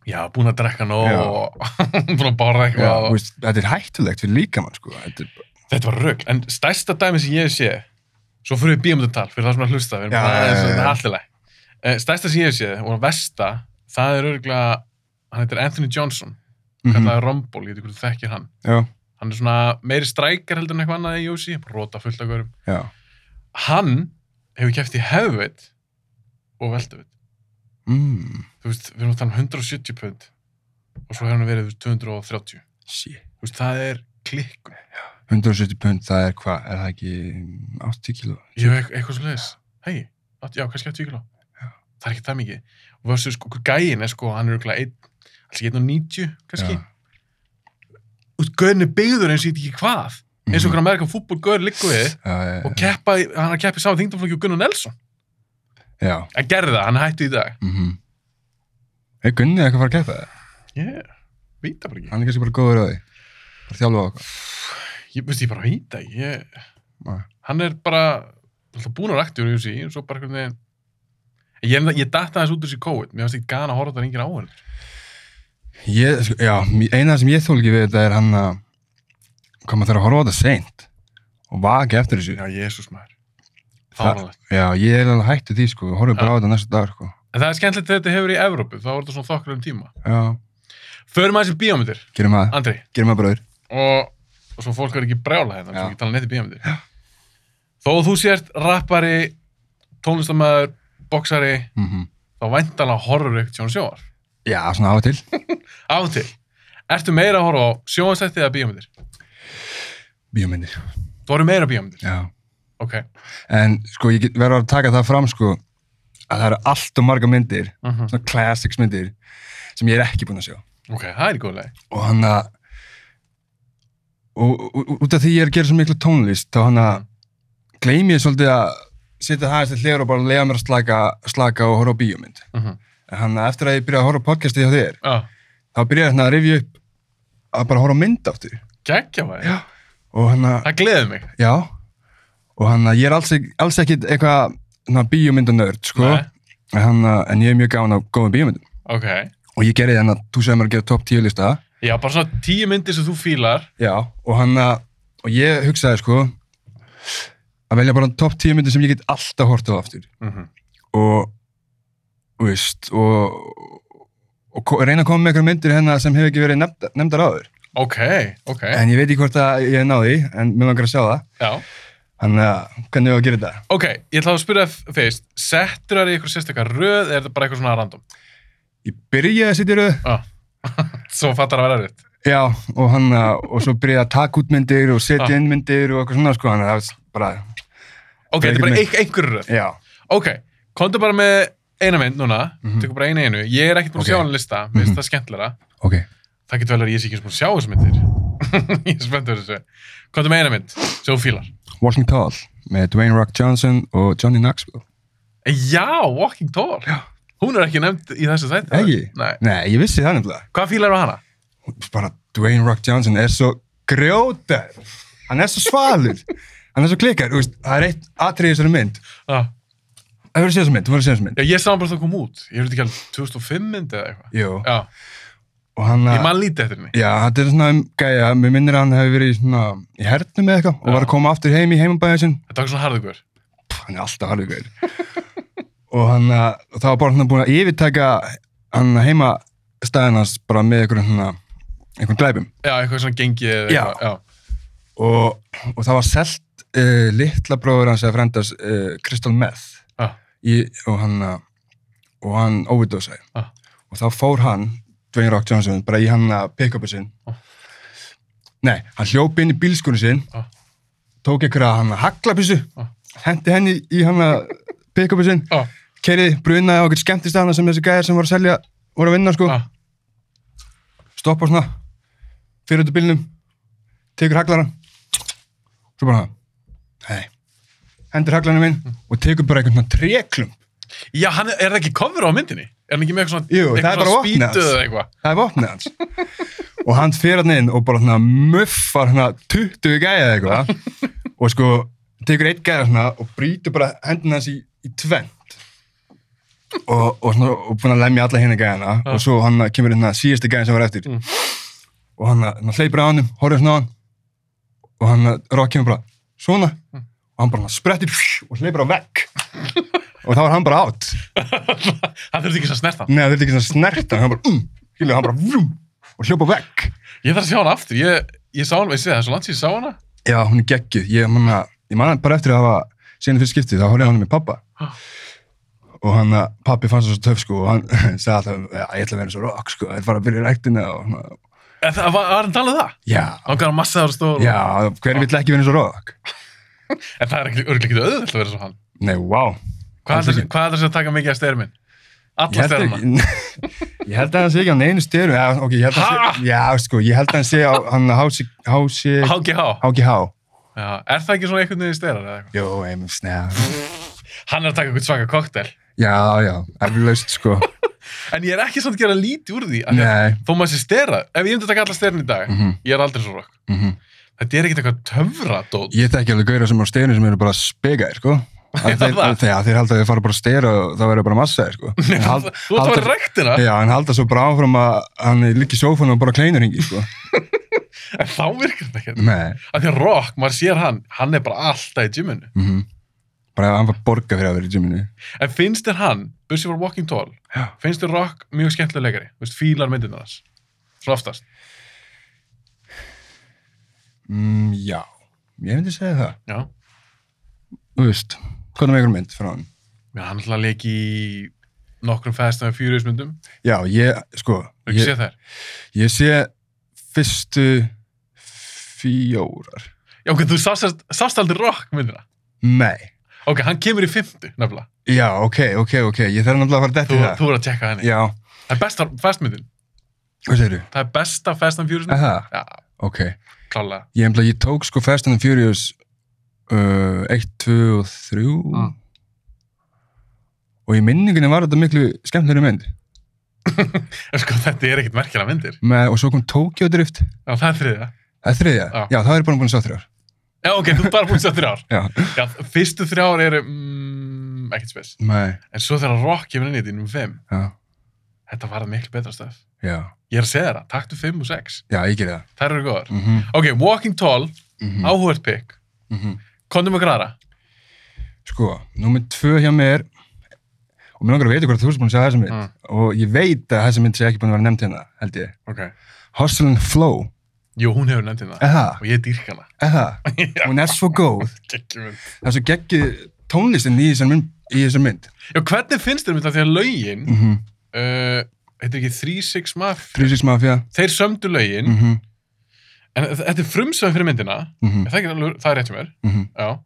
Já, búin að drekka nóg
Já.
og búin að borða
Já,
eitthvað
þú
og...
veist, þetta er hættulegt fyrir líkamann sko. Þetta er, bara-
Þetta var rögl, en stærsta dæmi sem ég hef sé svo fyrir við bíómyndatal, fyrir það sem er að hlusta við erum
Já,
bara
já,
aðeins
já, já.
svona allilega Eh, Stærsta sem ég hef sé og versta, það er örgla hann heitir Anthony Johnson
mhm,
kallaði Rumble, ég veit ekki hvort þú þekkir hann
já,
hann er svona meiri strækar heldur en eitthvað annað í Jósi, rota fullt af hverjum
já.
hann hefur kæft í hefðveit og velduvitt
Mm,
þú veist, við erum að tala um 170 pund og svo hefur hann verið 230
shit.
þú veist, það er klikkun
170 pund, það er hvað, er það ekki 80 kíló?
ég hef eitthvað svo leiðis, hei, já, kannski 80 kíló það er ekki það mikið og þessu sko, hver gæin er sko, hann er örugglega einn, alls ekki 190 kannski
Já.
út gauðin er byggður eins og ég veit ekki hvað eins og
Mhm.
okkur að merka fútból gauður liggur við
Já, já,
og keppa, í- hann er að keppa í sama þingdaflokki og Gunnar Nelson
já.
að gerði það, hann hætti í dag
Mm Er Gunni eitthvað að fara að keppa það?
Ég veit það bara ekki.
Hann er kannski bara góður að því. Bara þjálfa á okkur.
Ég veist, ég bara veit það ekki. Ég...
Nei.
Hann er bara alltaf búin að rækti úr UFC og svo bara hvernig... Ég, er enda- ég datta þess út úr þessi COVID. Mér finnst ekki gana að horfa það reyngir á henn.
Ég, sko, já, mí- eina sem ég þól ekki við þetta er hann að koma þeirra að horfa á þetta seint og vaki eftir þessu.
Já, Jésús maður.
Það-
Fáránlegt.
Já, ég er alveg hættu því, sko. Við horfum
Já.
bara á þetta næsta dag, sko.
En það er skemmtilegt þegar þetta hefur í Evrópu. Það voru þetta svona þokkur um tíma.
Já,
Förum að þessi bíómyndir,
gerum að,
Andri.
gerum að bröður.
Og, og svo fólk verður ekki brjála hérna.
Já.
Svo ekki tala neitt í bíómyndir. Þó þú sért rappari, tónlistamæður, boksari,
Mm
þá væntanlega horfur ykkur tjón sjóar.
Já, svona á og til.
Af og til. Ertu meira að horfa á sjóastætti eða bíómyndir?
Bíómyndir.
Þú horfur meira á bíómyndir.
Já.
Ok.
En sko, ég get- verður að taka það fram sko að það eru allt og marga myndir,
Mhm.
svona classics myndir, sem ég er ekki búinn að sjá.
Ok, það er í góð leið.
og hann að og og- og- út af því ég er að gera svo miklu tónlist þá hann að gleymi ég svolítið að setja það aðeins til hliðar og bara leiða mér að slaka, slaka og horfa á bíómynd
Mhm.
en hann að eftir að ég byrja að horfa á podcastið hjá þér
Já.
þá byrja hann að rifja upp að bara horfa á mynd aftur
Gekkja maður.
Já. og hann að,
Það gleði mig.
já og hann að ég er alls, ekki- alls ekkit eitthvað bíómyndanörd sko
Nei.
en, hann að, en ég er mjög gáðan á góðum bíómyndum
Ok.
og ég gerði hann að þú segir mér að gera topp 10 lista
Já, bara svona tíu myndir sem þú fílar.
Já, og hann að, og ég hugsaði sko, að velja bara topp 10 myndir sem ég get alltaf hortið á aftur
Mm -hmm.
og, þú veist, og, og ko- reyna að koma með einhverjum myndir hérna sem hefur ekki verið nefnda, nefndar áður.
Ok, ok.
En ég veit ekki hvort að ég náði, því, en mér langar að sjá það.
Já.
Þannig að, hvernig við að gera þetta?
Ok, ég ætla að spyrja þig fyrst, settur það í eitthvað sérstakar röð eða er þetta bara eitthvað svona random?
Ég byrjaði að sitja í röð,
Ah. Svo fattar að vera erfitt.
já, og hann að, og svo byrjaði að taka út myndir og setja
Ah.
inn myndir og eitthvað svona, sko, hann að það var bara,
Ok,
Það er
þetta er bara
ekki
ein, einhver röð.
já,
Ok, komdu bara með eina mynd núna,
Mhm.
tökum bara eina einu. Ég er ekkert búin að
Ok.
sjá hann lista, mér finnst
Mhm.
það skemmtilega.
ok.
Það getur vel verið að ég sé ekki eins búin að sjá þessu myndir. ég er spenntur fyrir þessu. Komdu með eina mynd, sem þú fílar.
Walking Tall með Dwayne Rock Johnson og Johnny Knoxville.
Já, Walking Tall.
Já.
Hún er ekki nefnd í þessu þætti.
Ekki?
Nei.
Nei, ég vissi það nefnilega.
Hvað fílar á hana?
Bara Dwayne Rock Johnson er svo grjótar. Hann er svo svalur. Hann er svo klikkar. Þú veist, það er eitt atrið í þessari mynd.
Ah.
Það verður að sé þessari mynd, þú verður að sé þessari mynd.
Já, ég sá hann bara það kom út. Ég veit ekki alveg 2005 mynd eða eitthvað.
Jú.
Já,
Og hann eh,
ég
að...
man lítið eftir henni.
Já, þetta er svona um gæja. Mér minnir að hann hefur verið í svona í hernum eða eitthvað og
Já.
var að koma aftur heim í heimabæðin sinn.
Þetta var ekki svona harðugur.
Pff, Hann er alltaf alveg gæri. og hann að... og Þá var bara hann búin að yfirtaka hann heima hans bara með einhverjum svona... einhverjum glæpum.
Já, eitthvað svona gengið eða
Já.
eitthvað. Já.
og, og það var selt uh, litla bróður hans eða frendars uh, Crystal Meth
Já.
í, og hann uh, og hann óvidosaði
Ah.
og þá fór hann, Dwayne Rock Johnson bara í hann að pick-upu sinn
Ah.
nei, hann hljóp inn í bílskunni sinn
Ah.
tók einhverja hann að haglabissu
Ah.
hendi henni í hann að pick-upu sinn
Já.
keiriði brunaði á okkur skemmtist hana sem þessi gæðir sem voru að selja voru að vinna sko,
Já.
stoppa svona fyrir út af bílnum tekur haglaran svo bara hei hendur haglaranum inn
Mm.
og tekur bara einhvern svona treklum
Já, hann er, er það ekki cover á myndinni? Er hann ekki með eitthvað svona,
Jú, það er bara vopnið
spýtu
hans.
eða eitthvað?
það er vopnið hans og hann fyrir hann inn og bara svona muffar svona 20 gæja eða eitthvað og sko tekur eitt gæja svona og brýtur bara hendina hans í, í tvent og, og svona og búin að lemja alla hérna gæjana og svo hann kemur hérna síðasti gæja sem var eftir
Mm.
og hann, hann hleypir á hann horfir svona á hann og hann rokk kemur bara svona og hann bara hann sprettir og hleypir á vekk og þá var hann bara átt
hann þurfti ekki svona að snerta hann.
Nei, það þurfti ekki svona snertan, hann bara, um, skilu, hann bara, vrum, og hljópa vekk.
Ég þarf að sjá hann aftur. Ég, ég sá hann, veist þið, það er svo langt síðan ég sá hana.
Já, hún er geggjuð, ég manna, ég manna bara eftir að hafa síðan fyrir skiptið, þá horfði hann með pappa.
Ah.
Og hann, að- pappi fannst það svo töf, sko, og hann sagði alltaf, já, ég ætla að vera svo rock, sko, ég ætla að fara að byrja í ræktina og, svona,
En það var, var hann talað um það?
já,
Hann gaf hann massa ára stór.
já, hver vill ekki vera svo rock?
En það er ekki, örgulega ekki auðvitað að vera svo hann.
Nei, wow.
Hvað
Alls
ætlar
ekki.
sér- hvað ætlar sér að taka mikið af styrminn?
Ég
Alla
held,
styrmina.
ekki, ég held að hann sé ekki á neinu styrum, já, ok, ég held að hann sé, já, sko, ég held að hann sé á, hann hási, hási,
HGH.
háki há,
Já, er það ekki svona einhvern veginn styrar eða eitthvað?
jó, einmitt, snega,
Hann er að taka eitthvað svaka koktel.
já, já, eflaust, sko.
En ég er ekki svona að gera lítið úr því. af því að
Nei,
Þó maður sé styrra. Ef ég myndi að taka alla styrin í dag,
Mhm.
ég er aldrei svo rock. Þetta er ekkert eitthvað töfradót.
ég þekki alveg gauðra sem eru á steinu sem eru bara spekaðir, sko. Að
Já,
Þeir,
það.
að þeir, að þeir halda að þeir fara bara að stera og það verður bara massaðir, sko. En hald-
Þú ert að vera
halda-
rektina,
Já, en halda svo bara áfram að hann liggi í sófann og bara kleinur hengi, sko.
en þá virkar þetta ekki.
Nei,
Af því að Rock, maður sér hann, hann er bara alltaf í gyminu.
mm bara ef hann var borga fyrir að vera í gyminu.
En finnst þér hann, Bussi var Walking Tall,
Já.
finnst þér Rock mjög skemmtilega leikari? Þú veist, fílar myndina þess. Svo oftast.
Mm, já, ég myndi segja það.
Já.
Þú veist, hvernig með einhver mynd frá hann?
Mér hann alltaf leik í nokkrum Fast and Furious myndum.
Já, ég, sko,
Þú ekki
ég,
séð þær?
ég sé fyrstu fjórar.
Já, ok, þú sást, sást aldrei rock myndina.
Nei.
Ok, hann kemur í fymtu, nefnilega.
Já, ok, ok, ok, ég þarf náttúrulega að fara
Þú,
dætti það.
þú voru að tjekka henni.
Já,
Það er besta Fast myndin.
hvað segirðu?
Það er besta Fast and Furious myndin.
Aha,
Já,
ok.
klálega.
Ég, embla, ég tók sko Fast and the Furious uh, 1, 2 og 3
Mm.
og í minningunni var þetta miklu skemmtlegri mynd
En sko, þetta er ekkert merkilega myndir.
Með, og svo kom Tokyo Drift
Já, það er þriðja.
Það er þriðja,
Já.
já, það er bara búin að sá þrjár
Já, ok, þú er bara búin að sjá þrjár.
Já,
Já, fyrstu þrjár eru, mm, ekkert spes.
nei,
En svo þegar rock kemur inn í þetta í nummer 5,
já,
þetta varð miklu betra stöf.
já,
Ég er að segja þér það, taktu 5 og 6.
já, ég gerði það mhm,
Þær eru góðar.
mm -hmm.
Ok, Walking Tall,
Mm.
áhugert pick. Kondum að græra.
mhm. Sko, númer tvö hjá mér og mér langar að veita hvort þú ert búin að segja þessa mynd
Mm.
og ég veit að þessa mynd sé ekki búin að vera nefnd hérna, held ég
Ok.
Hustle and Flow,
Jú, hún hefur nefnt hérna.
eða,
Og ég dýrk hana.
eða,
Já,
hún er svo góð
geggjum mynd.
það er svo geggið tónlistin í þessar mynd, í þessar mynd.
Já, hvernig finnst þér mynd að því að lögin,
Mm -hmm.
uh, heitir ekki 3-6 Mafia?
Three Six Mafia
Þeir sömdu lögin,
mm -hmm.
en þ- þetta er frumsöðum fyrir myndina.
Mm -hmm.
Er Það, er ekki alveg, það er rétt hjá mér. Já.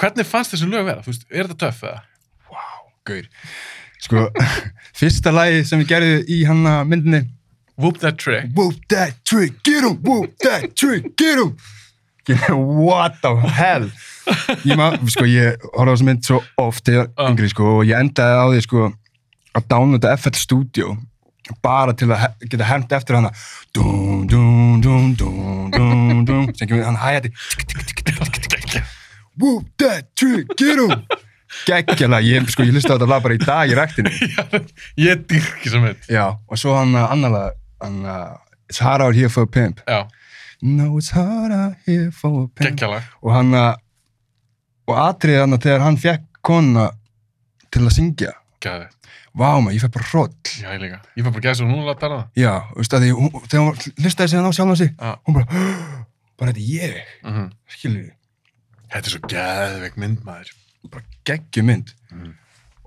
Hvernig fannst þessu lög vera? Þú veist, er þetta töff eða?
Gaur sko, fyrsta lagi sem við gerðum í hana myndinni
Whoop that trick.
Whoop that trick, get him, whoop that trick, get him What the hell ég ma, sko, ég horfði á þessa mynd svo oft þegar
Ah.
yngri, sko, og ég endaði á því, sko að downloada FL Studio bara til að he- geta hermt eftir hana dún, dún, dún, dún, dún, dún sem kemur hann hægði Whoop that trick, get him Geggjala, ég, sko, ég hlusta á þetta lag bara í dag í ræktinu
Já, ég dýrk þessa mynd.
Já, og svo hann uh, annarlega hann, uh, It's hard out here for a pimp
Já,
No, it's hard out here for a pimp
geggjala.
Og hann uh, og atriðið hann þegar hann fekk kona til að syngja
Gæði.
Vá maður, ég fekk bara hroll
Já, ég líka. Ég fær bara gæði svo núna að tala um það.
Já, veist að því, hún, þegar hún hlustaði sig hann á sjálfan sig
Já.
hún bara, bara þetta er ég
Mhm.
skilur við,
Þetta er svo gæðveik mynd, maður.
bara geggjum mynd
Mhm.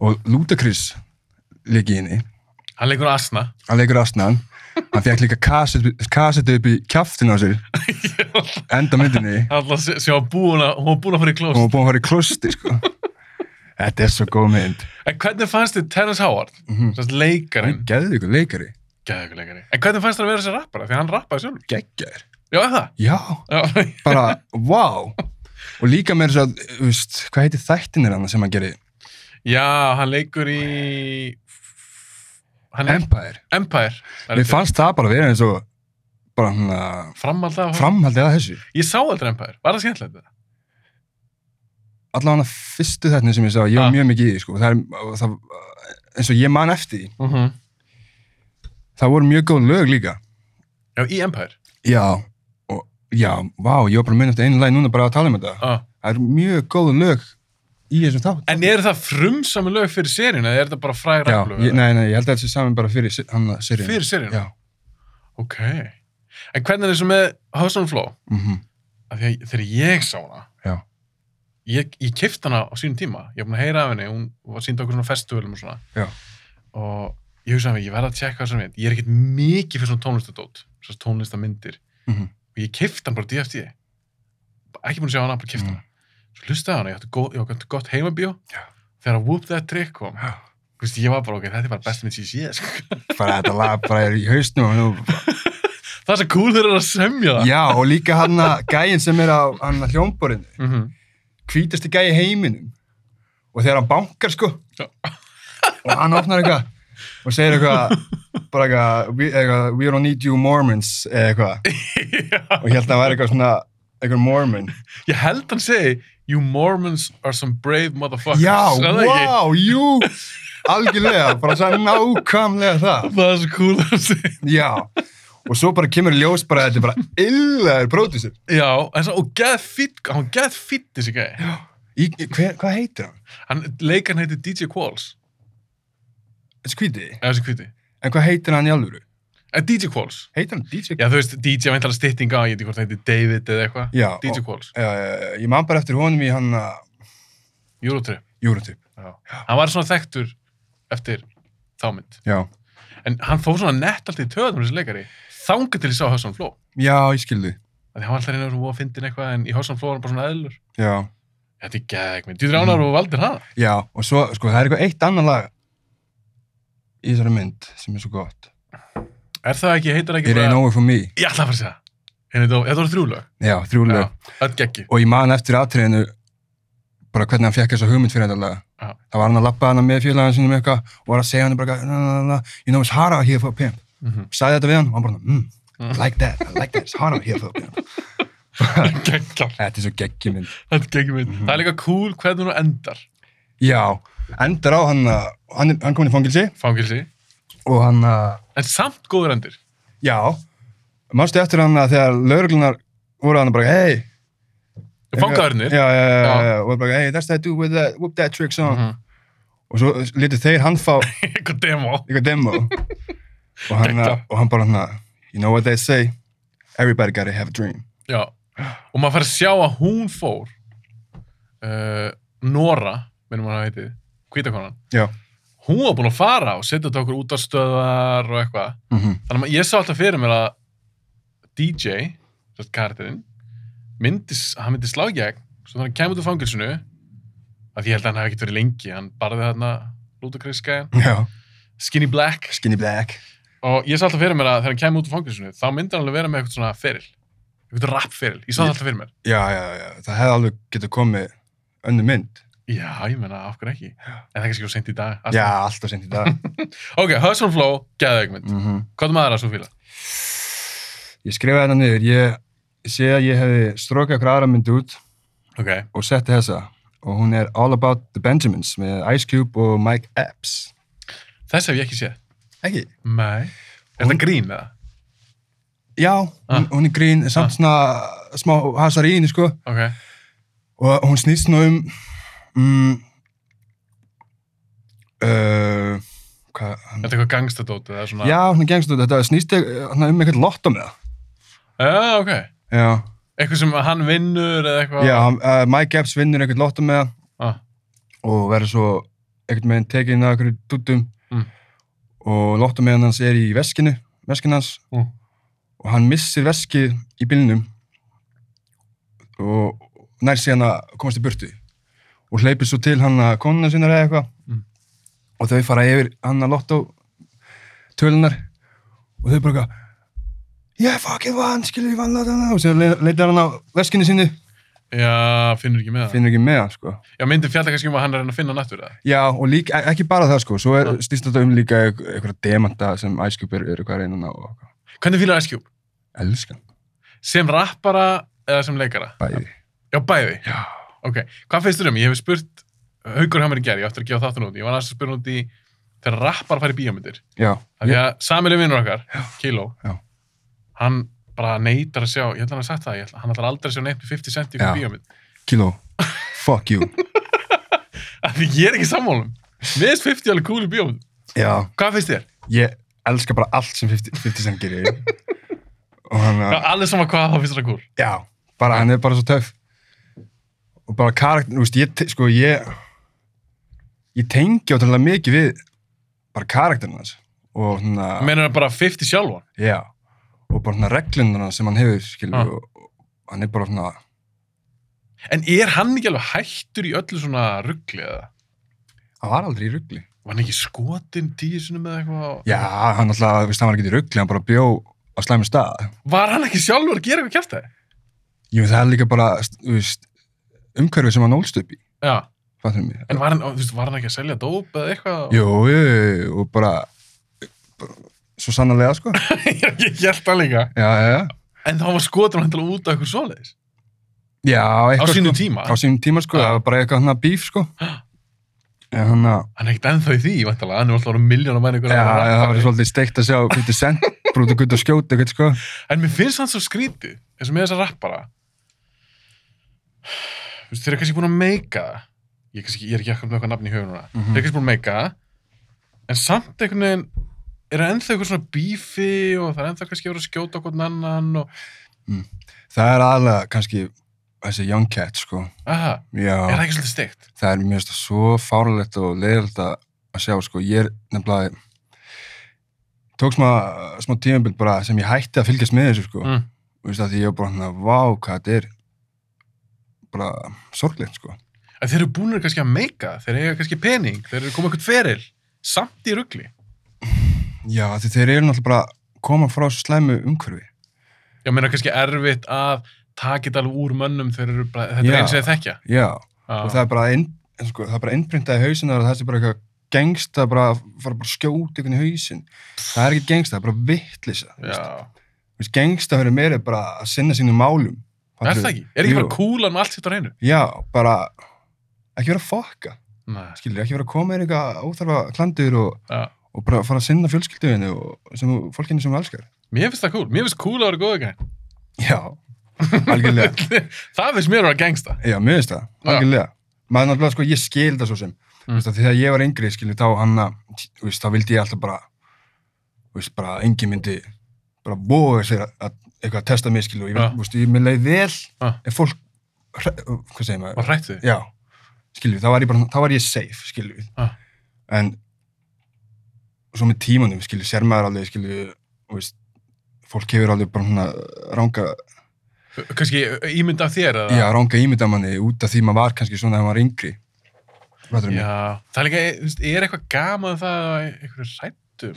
og Ludacris leikið inni
Hann leikur asna.
hann leikur asnan hann fekk líka kassetu, kassetu upp í kjaftin á sér enda myndinni
Hann ætla að sjá búin að, hún var búin að fara í klóst.
hún var búin að fara í klosti sko. þetta er svo góð mynd
En hvernig fannst þið Terrence Howard,
Mhm.
sérst
hann
leikarinn,
geði ykkur leikari
gæðveikur leikari, en hvernig fannst þér að vera þessi rappara? Því hann rappaði sjálfur.
geggjær,
Já, er það?
já,
Já,
bara wow og líka með þess að, þú veist, hvað heitir þættinir hann sem hann gerir,
Já, hann leikur í... Hann er
Empire
Empire. Það er
mér
rétt.
fannst það bara að vera eins og bara hann að
Framhald af...
framhaldið að þessu
Ég sá aldrei Empire. Var það skemmtilegt það?
allavega hann að fyrstu þættinir sem ég sá, ég
Ah.
var mjög mikið í því, sko. það er, og það, eins og ég man eftir því,
Mm -hmm.
það voru mjög góð lög líka
Já, í Empire.
já, og já, vá ég var bara að minna eftir einu lagi núna bara að tala um þetta
Ah.
það er mjög góð lög í þessum þátt
En eru það frumsami lög fyrir seríuna eða er þetta bara fræg
Já,
rapplög?
ég, nei, nei, ég held að þetta sé saman bara fyrir si- hann að Sirjun.
Fyrir seríuna?
Já.
Ok. En hvernig er þessu með House on Flow?
Mm
Af því að þegar ég sá hana,
Já.
ég, ég kifti hana á sínum tíma. Ég er búin að heyra af henni, hún var sínd okkur svona festivalum og svona.
Já.
Og ég hugsaði að mig, ég verða að tjekka þessar mynd. Ég er ekkert mikið fyrir svona tónlistadót, svona tónlistamindir.
Mhm.
Og ég kifti hana bara DFT. Ekki búin að sjá hana, bara kifti hana. Svo hlustaði á hana, ég átti, góð, ég átti gott heimabíó.
Mm. Já.
Þegar Whoop That Trick kom,
Já.
þú veist, ég var bara, ok, þetta er bara best mynd sem ég sé, sko.
Bara þetta lag bara er í hausnum og nú,
Það er svo cool þeir eru að semja það.
já, og líka hann að gæinn sem er á hann að hljómborinu,
Mm
hvítasti gæi í heiminum og þegar hann bankar sko
Já.
og hann opnar eitthvað og segir eitthvað bara eitthvað, we, eitthvað, we don't need you Mormons eða eitthvað og ég held að hann væri eitthvað svona eitthvað Mormon.
Ég held hann segi, you Mormons are some brave motherfuckers.
Já,
Er það ekki?
wow, jú, algjörlega, bara svo nákvæmlega það.
Það er svo cool þegar hann segi.
Já, og svo bara kemur í ljós bara að þetta er bara illaður pródusir.
Já, en svo, og geð fýtt, hann geð fýtt þessi gæði.
Í, í- hver, hvað heitir hann?
Hann, leikarn heiti DJ Qualls,
Þessi kvíti.
eða þessi kviti.
En hvað heitir hann í alvöru?
Eh, DJ Qualls.
Heitir hann DJ?
Já, þú veist, DJ veintalega stytting á, ég veit ekki hvort það heiti David eða eitthvað.
Já,
DJ
og-
Qualls,
Uh, ég man bara eftir honum í hann að
Eurotrip.
Júrantip.
Já. já. Hann var svona þekktur eftir þá mynd.
já,
En hann fór svona nett allt í töðum þessi leikari. Þangað til ég sá Hörsan Fló.
já, ég skildi
Þannig hann var alltaf reyna og fyndin eitthvað en í Hörsan Fló var hann bara svona eðlur.
já,
Þetta er gegn minn. Dýður ánar og valdir hann.
já, og svo, sko, það er eitthvað eitt annan lag í þessari mynd sem er svo gott
Er það ekki, heitir það ekki
It ain't over for me,
Ég ætla að fara að segja. Hérna, þetta voru þrjú lög.
já, þrjú lög
Já, Öll geggi.
og ég man eftir atriðinu bara hvernig hann fekk þessa hugmynd fyrir þetta lag
Já.
það var hann að lappa hann með félagin sínum eitthvað og var að segja hann bara eitthvað, na, na, na, you know it's hard out here for a pimp
Mhm.
sagði þetta við hann og hann bara mm,
Mm.
I like that, I like that, it's hard out here for a pimp
Geggjað.
þetta er svo geggjum mynd
Þetta geggjum mynd.
Mhm.
Það er líka cool hvernig hún endar.
já, endar á hann að- hann, er- hann komin í fangilsi
Fangilsi.
og hann að,
En samt góður endir.
já manstu eftir hann að þegar lauruglunar voru hann bara, hey
Fangaðurinnir.
já, já, já,
Já.
já, já, og bara, hey, that's that dude with that, whoop that trick song
Mhm.
og svo litur þeir hann fá
Eitthvað demo.
eitthvað demo og hann,
Geggjað.
og hann bara hann you know what they say everybody gotta have a dream
Já, og maður fær að sjá að hún fór uh, Nora, minnum hann að heiti hvítakonan,
já,
hún var búin að fara og setja þetta okkur út af stöðar og eitthvað,
mm -hmm.
þannig að ma- ég sá alltaf fyrir mér að DJ sérst karakterinn, myndi, hann myndi slá í gegn, svo þannig kemur út úr fangilsinu að því ég held að hann hef ekkert verið lengi hann barði þarna Ludacris-gæðan
já,
Skinny Black
skinny black
og ég sá alltaf fyrir mér að þegar hann kemur út úr fangilsinu þá myndi hann alveg vera með eitthvað svona feril eitthvað rap feril, ég sá það alltaf fyrir mér
já, já, já, það hefði alveg getur komið önnu mynd,
Já, ég menna, af hverju ekki? En það er kannski svo sent í dag.
já, alltaf sent í dag
Ok, Hustle and Flow, geða ykkur mynd.
mm
Hvað er maður að svo fíla?
ég skrifaði þetta niður ég sé að ég hefði strokað okkur aðra mynd út
Ok,
og setti þessa og hún er All About the Benjamins með Ice Cube og Mike Epps
þess hef ég ekki séð.
ekki?
Nei. Er þetta grín eða?
já,
Ah.
hún, hún er grín, er samt
Ah.
svona smá hasar í henni sko
Ok,
og hún snýst nú um mm, uh, hvað
er
hann,
þetta eitthvað gangstadót eða svona?
já, hún gengst út, þetta snýst eh, hann, um eitthvað lotto með það
Já, ok.
já,
Eitthvað sem hann vinnur eða eitthvað?
já hann, uh, Mike Epps vinnur eitthvað lotto með það
Ah,
og verður svo eitthvað með tekið inn að einhverju duttum
Mm.
og lotto með hans er í veskinu veskinu hans
Mm.
og hann missir veskið í bílnum og nær síðan að komast í burtu og hleypir svo til hann að konuna sinna eða eitthvað
Mm.
og þau fara yfir hann að lotto tölunar og þau bara eitthvað yeah fuck it one skilur ég vann lottóna og sér leitar hann á veskinu sinni
já, finnur ekki með það.
finnur ekki með hann sko
Já, myndi fjalla kannski um að hann er að reyna að finna hann eftir það.
Já, og líka, e- ekki bara það sko, svo er,
Já.
snýst þetta um líka einh- einhverja demanta sem Ice Cube er, er eitthvað að reyna að ná og eitthvað.
Hvernig fílar Ice Cube?
Elskan,
Sem rappara eða sem leikara?
bæði.
Já, bæði.
Já.
Ok, hvað finnst þér um? Ég hef spurt Haukur Hammer í gerð, ég ætti að gefa þáttun út. Ég var næst að spyrja hann út í þegar rappar fara í bíómyndir.
Já,
Af því að samileg vinnur okkar, Kilo,
Já.
hann bara neytar að sjá, ég held að hann að sagt það, ég held, hann ætlar aldrei að sjá neitt með 50 cent í
Já.
fyrir bíómynd.
kíló, fuck you.
Af því ég er ekki sammálum. Mér finnst 50 alveg cool í bíómynd.
Já,
Hvað finnst þér?
ég elska bara allt sem 50, 50 Cent gerir. og hann,
Já,
að-
allir sama hvað þá finnst þér það cool.
já, bara hann er bara svo töff. Og bara karakter, þú veist, ég, te- sko, ég, ég tengi ótrúlega mikið við bara karakterinn hans. Og svona...
Menur hann bara 50 sjálfan?
Já, og bara svona reglundana sem hann hefur, skilur,
Ah.
ah. og, og hann er bara svona,
En er hann ekki alveg hættur í öllu svona ruggli eða?
hann var aldrei í ruggli.
Var hann ekki skotin tíu sinum eða eitthvað?
Já, hann alltaf, þú veist, hann var ekki í ruggli, hann bara bjó á slæmi stað.
Var hann ekki sjálfur að gera eitthvað kjæft það?
Jú, það er líka bara, þú veist, umhverfi sem hann ólst upp í,
Já,
fattur mig.
en var hann, þú veist, var hann ekki að selja dóp eða eitthvað?
Jú, jú, jú, og bara, bara svo sannarlega, sko.
ég held það líka.
Já, já, já.
En þá var skotin hann til að út af eitthvað svoleiðis.
Já,
Á
eitthvað,
sínu
sko,
tíma.
á sínum tíma, sko,
Ah.
það var bara eitthvað hann að bíf, sko. En hann að,
hann er ekkert ennþá í því, vantalega, hann er alltaf orðið milljón að mæna ykkur
já, það var svolítið steikt að sjá 50 Cent, brútið gutt og skjóta, eitthvað, sko.
en mér finnst hann svo skrítið, eins og með þessa rappara Þú veist, þeir eru kannski búin að meika það ég, er kannski, ég er ekki akkur með eitthvað nafn í höfum núna
Mhm.
þeir eru kannski búin að meika það en samt einhvern veginn er það ennþá eitthvað svona bífi og það er ennþá kannski að vera að skjóta okkur annan og
Það er aðalega kannski þessi Young Cat, sko.
Aha, er það
Já,
ekki svolítið stygt?
það er mjög svo fárlegt og leiðilegt að að sjá, sko. Ég er nefnilega, tók smá, smá tímabild bara sem ég hætti að fylgjast með þessu, sko.
Mm.
Þú veist að því ég var bara hann að, vá, hvað þetta er bara sorglegt, sko.
Að þeir eru búinir kannski að meika, þeir eiga kannski pening, þeir eru komið eitthvað feril, samt í ruggli.
Já, af því þeir eru náttúrulega bara að koma frá þessu slæmu umhverfi.
Ég meina kannski erfitt að taka þetta alveg úr mönnum þegar þeir eru bara, þetta er
Já.
eins og þeir þekkja.
Já,
Já.
og það er bara, inn, sko, það er bara innprintað í hausinu að það sé bara eitthvað gengsta bara að fara bara að skjóta einhvern í hausin það er ekki gengsta, það er bara vittlisa
Já.
veist, gengsta höfður meira bara að sinna sínum málum
Er það ekki? Er ekki
Jú.
bara kúlan með allt sitt á reynu?
Já, bara ekki vera að fokka
Nei.
skilur, ekki vera að koma er eitthvað óþarfa klandur og,
Já.
og bara fara að sinna fjölskylduðinu og sem, þú- fólkinu sem þú elskar
Mér finnst það kúl. Mér finnst kúl að vera góða gæn.
Já, algjörlega
það finnst mér að vera gangsta.
Já, mér finnst það,
Já.
algjörlega maður náttúrulega sko, ég skil það svo sem
Mm.
mm. veist, að þegar ég var yngri, skilur, þá hann að, þú veist, þá vildi ég alltaf bara þú veist, bara engin myndi bara bóða sér að, að eitthvað að testa mig, skilur, og ég,
Já.
ja. veist, ég mér leið vel
Já.
ef fólk hre- hvað segir maður,
Var hrættu.
já skilur, þá var ég bara, þá var ég safe, skilur
Já.
en svo með tímanum, skilur, sér maður alveg skilur, þú veist fólk hefur alveg bara hún að ranga
Kannski ímynd af þér eða?
Já, ranga ímynda manni út af því maður var kannski svona þegar maður var yngri. Hvað er mig?
Já. Það er líka, þú veist, er eitthvað gaman það að einhverju um hrættu?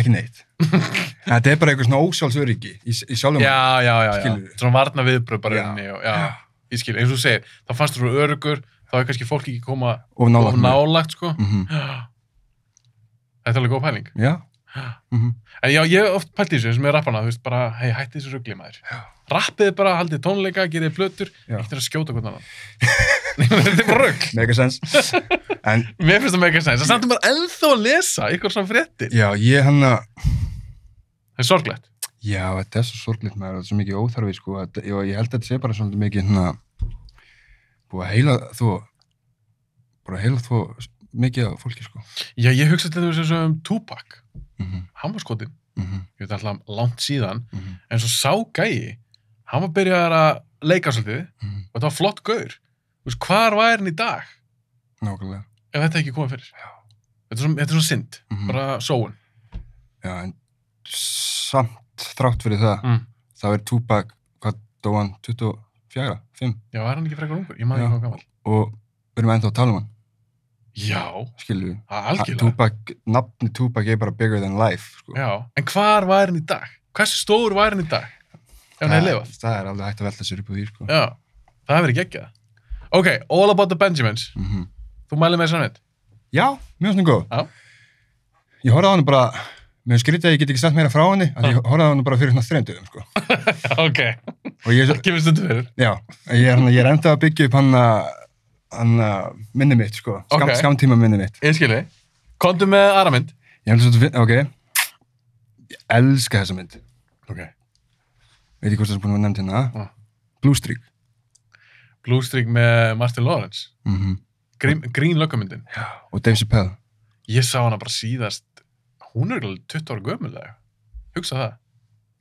Ekki neitt. Þetta er bara eitthvað svona ósjálfsöryggi í, í sjálfum.
Já, já, já. já.
Skilurðu?
Svona varna viðbröð bara
Já.
inni og, já. Ég skil, eins og þú segir, þá fannst þú örugur, þá er kannski fólk ekki koma
Og
of
nálægt. mér.
nálagt, sko.
Mhm.
Já. Þetta er alveg góð pæling.
Já.
Ah.
Mm
En já, ég hef oft pælt í þessu sem er rapparna, þú veist, bara, hei, hætti þessu ruggli maður.
Já.
Rappið bara, haldið tónleika, gerðið plötur,
Já.
ekkert er að skjóta hvern annan. Nei, þetta er bara rugg.
Mega sens. En
Mér finnst það með eitthvað sæns. Það samt er maður ennþá að lesa ykkur svona fréttir.
já, ég hann að,
Það er sorglegt.
já, þetta er svo sorgleitt maður, þetta er svo mikið óþarfi, sko. Að, já, ég held að þetta sé bara svolítið mikið hérna, búið að heila þó, bara heila þó mikið af fólki, sko.
Já, ég hugsa til þess að um Tupac,
Mm -hmm.
hann var skotin,
Mm -hmm.
ég veit alltaf langt síðan,
mhm,
en svo sá gæi, hann var byrjaðar að leika svolítið
Mhm.
og þetta var flott gaur. Þú veist, hvar væri hann í dag
Nákvæmlega.
ef þetta ekki komið fyrir?
Já.
Þetta er svona, þetta er svona synd,
Mhm.
bara sóun.
Já, en samt þrátt fyrir það,
Mm.
þá er Tupac, hvað dó hann, 24, 5
Já, er hann ekki frekar ungur? Ég maður
Já.
ekki hvað gammal.
og við erum ennþá að tala um hann,
Já,
skilur við.
það er algjörlega.
Tupac, nafni Tupac er bara bigger than life, sko.
Já, en hvar var hann í dag? Hversu stór var hann í dag? Ef hann hefði lifað?
Það- Það er alveg hægt að velta sér upp úr því, sko.
Já, það hefur ekki ekki það. Ok, All About the Benjamins.
Mm
Þú mælið með þessan veit.
Já, mjög svona góð.
Já.
Ég horfði á hann bara, mér finnst skrítið að ég get ekki snett meira frá henni, að ég horfði á hann bara fyrir svona þreymdöðum, sko.
Ok,
Og ég,
gefur stundu fyrir.
já, ég er, hann- ég er ennþá að byggja upp hann að, hann að minni mitt, sko. Skam,
Ok.
Skamtíma minni mitt.
Ég skilji. Komdu með aðra mynd.
Ég held að þetta, ok Ég elska þessa mynd
Ok.
Veit ekki hvort það er búin að vera nefnd hérna
Ah.
Blue Streak
Blue Streak með Martin Lawrence.
mm
Grín, grín löggamyndin.
Og Dave Chappelle
Ég sá hana bara síðast. Hún er alveg 20 ára gömulega. Hugsa það.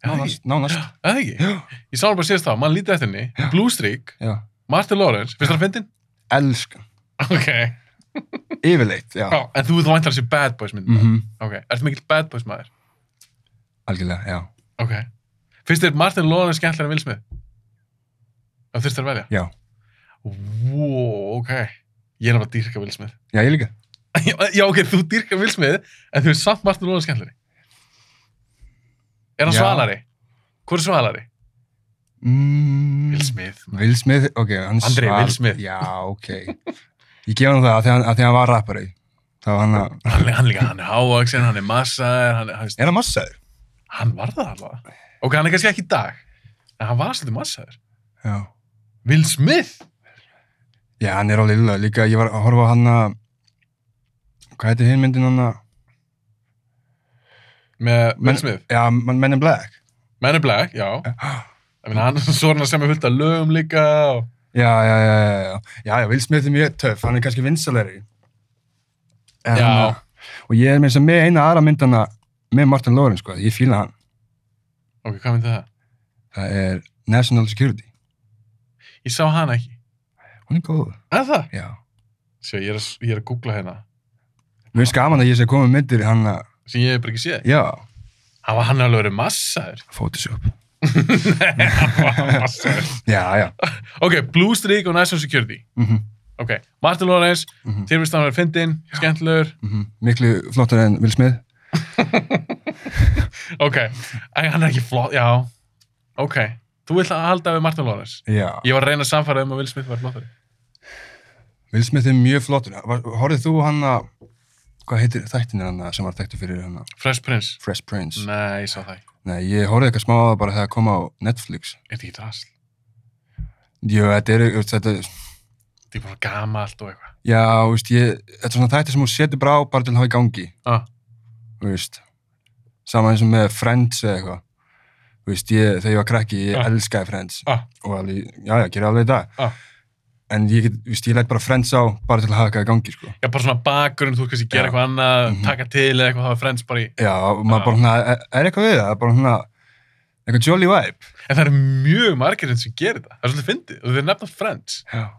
Er það ekki?
Nánast, nánast
Er það ekki?
Já,
Ég sá hana bara síðast þá. Man lítið eftir henni.
Já.
Blue Streak,
já
Martin Lawrence. Finnst það að fyndin?
Elska
Ok.
Yfirleitt, já
Já, en þú væntar þessi Bad Boys myndin.
mm
Ok. Ertu mikill Bad Boys maður?
Algjörlega, já
Ok. Finnst þér Martin Lawrence skemmtilega en Will Smith? Það þurftir að velja?
Já.
Wow, ok. Ég er alveg að dýrka Will Smith.
Já, ég líka
Já, já, ok, þú dýrka Will Smith, en þú er samt Martin Lawrence skemmtilegri. Er hann
Já.
svalari? Hvor er svalari?
mm.
Will Smith. maður.
Will Smith, ok hann er
Andri
svar-
Will Smith.
Já, ok Ég gef hann það að því hann, að því hann var rappari Þá var hann að
Hann, hann líka, hann er hávaxinn, hann er massaður, hann, er- hann,
Er hann massaður?
hann var það alveg. Ok, hann er kannski ekki í dag, en hann var svolítið massaður.
Já
Will Smith?
Já, hann er alveg lilla Líka, ég var að horfa á hann að Hvað heitir hinn myndin hann að
Með Will
Men-
Smith.
Já, Men Men in Black
Men in Black, já. Ég meina, hann svo er hann að semja fullt af lögum líka og...
Já, já, já, já, já, já, já, Will Smith er mjög töff, hann er kannski vinsalari. En,
Já.
hann, Og ég er með þess að með eina aðra myndana með Martin Lawrence, sko, ég fíla hann.
Ok, hvað myndi það?
Það er National Security.
Ég sá hana ekki.
Hún er góð.
Er það?
Já.
Sjá, ég er að, ég er að googla hérna.
Mér finnst gaman að ég sé komið myndir hann að,
Sem ég hef bara ekki séð.
já,
Hann var hann er alveg verið massaður.
Photoshop.
Nei, hann var massaður.
Já, já.
Ok, Blue Streak og National Security.
Mm -hmm.
Ok, Martin Lawrence,
Mm -hmm.
þér finnst hann að vera fyndin, skemmtilegur.
mhm. Miklu flottar en Will Smith.
Ok, en hann er ekki flott, já. Ok, þú vill að halda við Martin Lawrence.
Já.
Ég var að reyna að samfara um að Will Smith var flottari.
Will Smith er mjög flottur. Var- Horfðið þú hann að, hvað heitir þættinir hann að sem var þekktu fyrir hann að
Fresh Prince.
Fresh Prince?
Nei, ég sá það ekki.
Nei, ég horfði eitthvað smá á það bara þegar það kom á Netflix.
Er þetta ekki drasl?
Jú, þetta er, þetta,
Þetta er bara gamalt og eitthvað.
já, veist, ég, þetta er svona þættir sem hún setur bara á bara til að hafa í gangi.
Ah,
þú veist saman eins og með Friends eða eitthvað þú veist, ég, þegar ég var krakki, ég
Ah.
elskaði Friends
Ah.
og alveg, já, já, gera alveg í dag
Ah.
en ég get, þú veist, ég læt bara Friends á bara til að hafa eitthvað í gangi, sko
já, bara svona bakgrunn, þú kannski gera
Já.
eitthvað annað,
Mhm.
taka til eða eitthvað, það var Friends bara í...
já, og maður
Ah.
bara svona, er, er eitthvað við það, það er bara svona eitthvað jolly vibe
En það eru mjög margirinn sem gerir það. Það er svolítið fyndið. Og þeir nefna Friends.
já,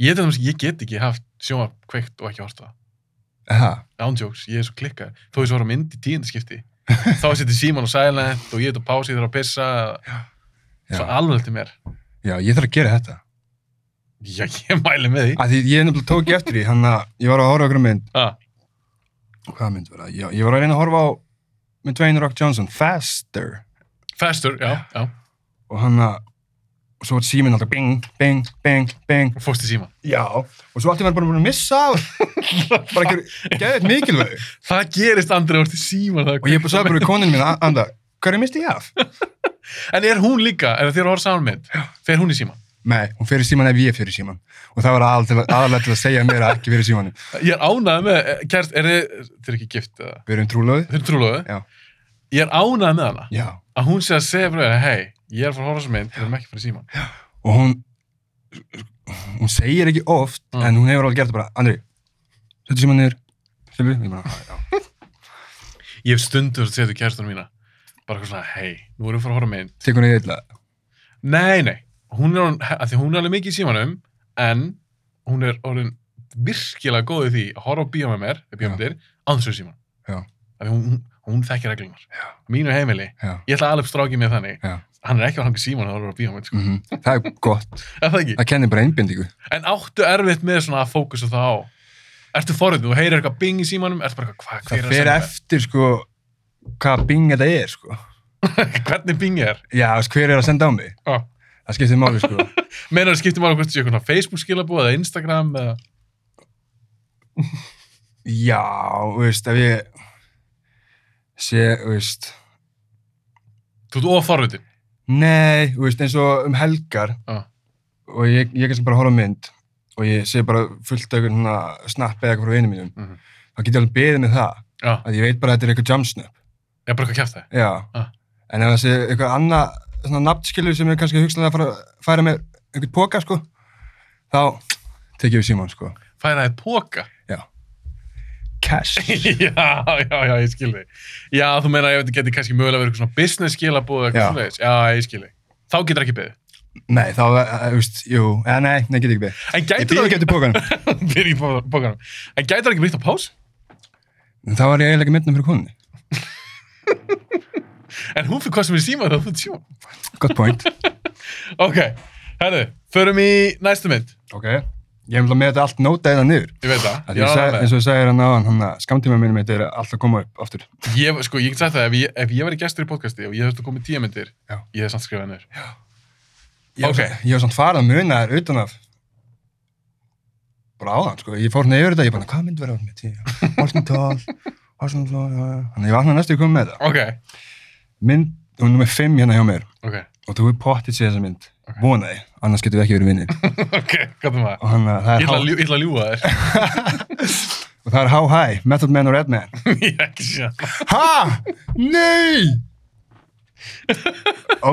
Ég, til dæmis, ég get ekki haft sjónvarp kveikt og ekki horta það.
Aha.
Ándjóks, ég er svo klikkar. Þó ég svo var á mynd í tíundaskipti. Þá seti Simon og Silent og ég er þetta pási, ég þarf að pissa.
já.
Svo alveg til mér.
já, ég þarf að gera þetta
Já, ég mæli með því.
að því ég nefnilega tók ég eftir því, hann að ég var að horfa okkur mynd,
Ah,
hvað mynd var það, já, ég var að reyna að horfa á með Dwayne Rock Johnson, Faster
faster, já, já.
og hann að og svo var síminn alltaf bing, bing, bing, bing
Og fórst í Simon.
Já, og svo allt í verður bara búin að missa af bara ekki, geðið mikilvæg
Það gerist andri orðið Simon. það er
og ég bara sagði bara við konin mín "A- anda, hverju misti ég af?
En er hún líka, ef þið eru að horfa saman mynd, fer hún í síman?
Nei, hún fyrir síman ef ég fyrir síman og það var aðal til, aðalega til að segja mér að ekki fyrir símanum
Ég er ánægð með, eh, kært, er þið, þið eru ekki gift eða?
Við erum trúlöðu?
Þið eru trúlóðu?
Já.
Ég er ánægð með hana,
Já,
að hún sé að segja fyrir þér, hei, ég er að fara að horfa saman mynd, við erum ekki fyrir síman.
og hún hún segir ekki oft
Mm.
en hún hefur alveg gert það bara, Andri settu síman niður, skilur við? Ég bara, "Ah, já."
Ég hef stundur að segja til kærstunum mína, bara eitthvað svona, hei, nú erum við að fara að horfa á mynd.
Tekur hún í eitthvað
Nei, nei, hún er, orðin- að því hún er alveg mikið í símanum, en hún er orðin virkilega góð í því að horfa á bíó með mér, við bíómyndir, ánþjóð síman.
Já.
Af því hún, hún, hún þekkir reglunar.
Já.
Mínu heimili,
Já,
ég ætla að alveg strákið með þannig,
Já.
hann er ekki að hanga síman að horfa á bíómynd, sko.
mm það er gott
Er það ekki?
það kennir bara einbindingu
En áttu erfitt með svona að fókusa það á? Ertu forðið, þú heyrir eitthvað bing í símanum, ertu bara eitthvað, hvað, hver
það
er að
fer
segja
eftir sko hvað bing þetta er sko
það? Hvernig bing er?
já, þú veist, hver er að senda á mig
Ah.
það skiptir máli sko
Menar það skiptir máli hvort þú sé eitthvað Facebook skilabóð eða Instagram eða...
já, þú veist, ef ég sé, þú veist
Þú ert oforðið.
nei, þú veist, eins og um helgar
Ah.
og ég, ég kannski bara horfa á mynd og ég sé bara fullt af einhvern svona snappi eða eitthvað frá einu mínum
Mhm.
þá get ég alveg beðið með það
Já,
að ég veit bara að þetta er eitthvað jump snap
ég er bara eitthvað kæft það.
já,
Ah.
en ef það sé eitthvað annað svona nafnskilur sem er kannski hugsanlega að fara að færa með einhvern póka sko þá tekið við síman sko
Færa þið póka.
cash
já, já, já, ég skil þig. Já, þú meina að þetta geti kannski mögulega verið eitthvað svona business skilabóð eða
Já.
eitthvað svoleiðis. Já, ég skil þig. Þá getur ekki beðið.
Nei, þá, eh, þú veist, jú, eða nei, nei, get ekki beðið.
En
Ég
gætur
býði
það
ekki eftir pókanum.
ekki... Býr í pó- pókanum. En gætur það ekki breytt á pás?
En þá var ég eiginlega ekki myndin fyrir konunni.
En hún fyrir hvað sem er síma þá þú ert síma.
Gott point.
Ok, herru, förum í næstu mynd.
ok. Ég hef með þetta allt nótað eða niður.
Ég veit það. Ég,
Það ég
er
sag,
ánægður með
eins og ég segir hann áðan, hann að skamtíma mínum mitt er allt að koma upp aftur.
það. ég, sko, ég get sagt það, ef ég, ef ég væri gestur í podcasti og ég þurfti að koma í tíu myndir,
Já.
ég hef samt skrifað hennur.
Ég var
Ok.
samt- Ég var samt farað að muna þær utan af bara áðan, sko. Ég fór hérna yfir þetta, ég bara, hvað mynd verður áður með tíu? Walking Tall, Washington Flow, já, já. Þannig að ég vaknaði næstu að koma með það.
Ok,
Mynd, hún er nummer 5 hérna hjá mér
ok,
og þú er pottið sér þessa mynd.
Ok.
Vonaði, annars getum við ekki verið vinnir.
ok, hvað er það?
Og þannig að
Ég
það er
ætla að
há-
ljú- ég ætla að ljúa þér.
og það er How High, Method Man og Red Man.
ég hef ekki síðan.
Ha? Nei!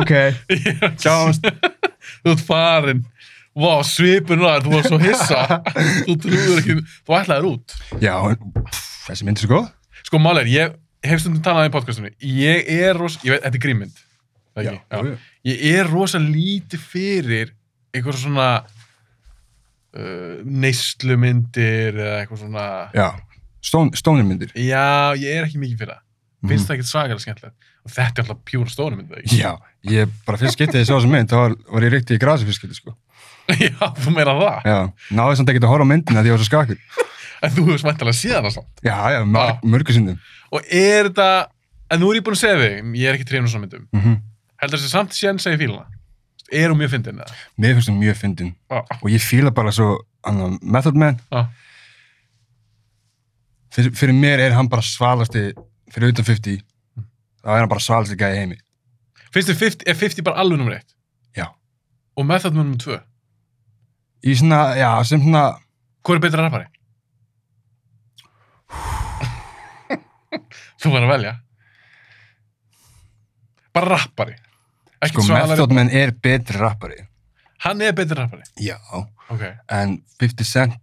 Ok, sjáumst.
Þú ert farin. Vá, svipur náður, þú var svo hissa. þú trúður ekki, þú ætlaðir út.
Já, pff, þessi mynd er svo góð.
Sko, málið er, ég hef stundum talað í podcastinu. Ég er ros... Ég veit, þetta er grímmynd. Það ekki?
já.
Ég er rosa lítið fyrir einhver svona uh, neyslumyndir eða eitthvað svona
já, stón, stónirmyndir
já, ég er ekki mikið fyrir það finnst það ekkert svakalega skemmtilegt og þetta er alltaf pjúra stónumynd
Mhm. Já, ég bara fyrst getið þess að þessu mynd, þá var, var ég reyktið í grasi fyrst getið, sko.
já, þú meira það
Já, náði samt ekki að horfa á myndina því ég var svo skakur.
en þú hefur smæntalega síðan það samt
Já, já, mar,
Já.
mörgu sindum.
og er þetta, en nú er ég búin að segja þig ég er ekki trefnum svona myndum
Mm -hmm.
heldur þessi samt séns að ég fíla hana? er hún mjög fyndin eða?
Mér finnst hún mjög fyndin
Já.
og ég fíla bara svo annan, Method Man.
Já.
Fyrir, fyrir mér er hann bara svalasti, fyrir utan 50, þá er hann bara svalasti gæði í heimi.
finnst þið 50, er 50 bara alveg nummer 1
Já.
og með þetta nummer 2
Í svona, já, sem svona,
hvað er betra rappari? þú verður að velja bara rappari ekki
sko,
sko, svalari,
Method Man er betri rappari.
hann er betri rappari
Já.
ok,
En 50 Cent,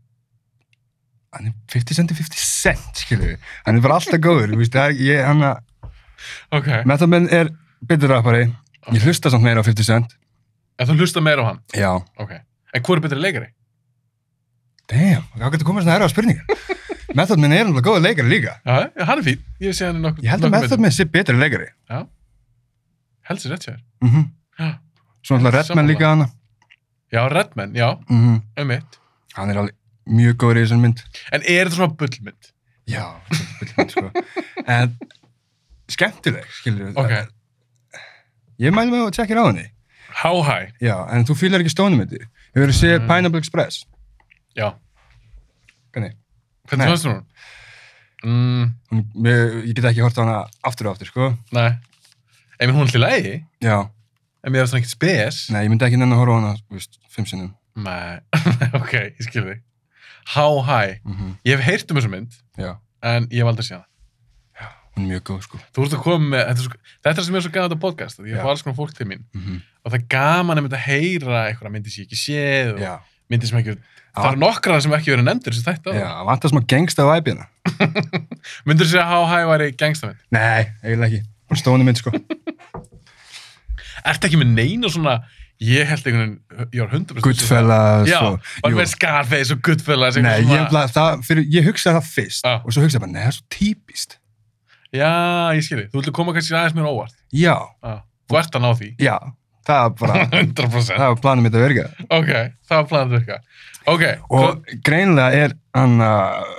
hann er 50 Cent er 50 Cent, skilur við. Hann er bara alltaf góður, þú veist, það er, ég, hann að,
ok,
Method Man er betur rappari
Ok.
Ég hlusta samt meira á 50 Cent
en þú hlusta meira á hann
Já
ok, en hvað er betri leikari?
Damn, hvað getur komið svona erfa spurningar Method Man er alveg góða leikari líka
Já, hann er fín, ég sé hann í nokkur
Ég held að Method Man sé betri leikari
held sér rétt hjá þér.
mm -hmm.
Já.
Svo náttúrulega Redman
Sammála.
líka hana
já, Redman, já,
mm
um mitt
Hann er alveg mjög góður í þessum mynd
en er þetta svona bullmynd?
Já, bullmynd, sko. En skemmtileg, skilur við
ok,
Ég mæli mig að tjekkir á henni
how high
Já, en þú fýlar ekki stónum myndir Hefur þú séð
Mm.
Pineapple Express?
já,
Hvernig? Nei.
hvernig fannst þú hún? Mm,
Hún, ég, ég get ekki hort á hana aftur og aftur, sko
nei, en hún er alltaf lægi
Já,
en mér er svona ekkert spes
nei, ég myndi ekki nenni að horfa á hana, þú veist, fimm sinnum
Nei, ok, ég skil þig. How high?
mm
Ég hef heyrt um þessu mynd,
Já,
en ég hef aldrei séð hana.
hún er mjög góð sko.
Þú ert að koma með, þetta er, svo, þetta er það sem er svo gaman þetta podcast, að ég
Já.
fá alls konar fólk til mín.
Mm
Og það er gaman að mynda að heyra einhverja myndir sem ég ekki séð og
Já,
myndir sem ekki, það
Já.
eru nokkrar sem ekki verið nefndur sem þetta.
já, vantar smá hérna. gengsta væpina.
Myndur þú segja að How High væri gangstafinn?
Nei, eiginlega ekki. Bara stóni mynd sko.
Ertu ekki með neina svona, ég held einhvern veginn, ég var 100%
Goodfellas
um Já,
og...
og með Scarface og Goodfellas
Nei,
eitthvað
ég,
svona-
bla, það, fyrir, ég hugsaði það fyrst
Já.
og svo hugsaði ég bara, nei, það er svo típist.
Já, ég skil þig, þú ætlum koma kannski aðeins mér óvart
Já,
Já, Þú ert að ná því,
já, það var bara,
100%
það var planið mitt að verga.
Ok, það var planið að virka. Ok,
Og greinilega er hann að,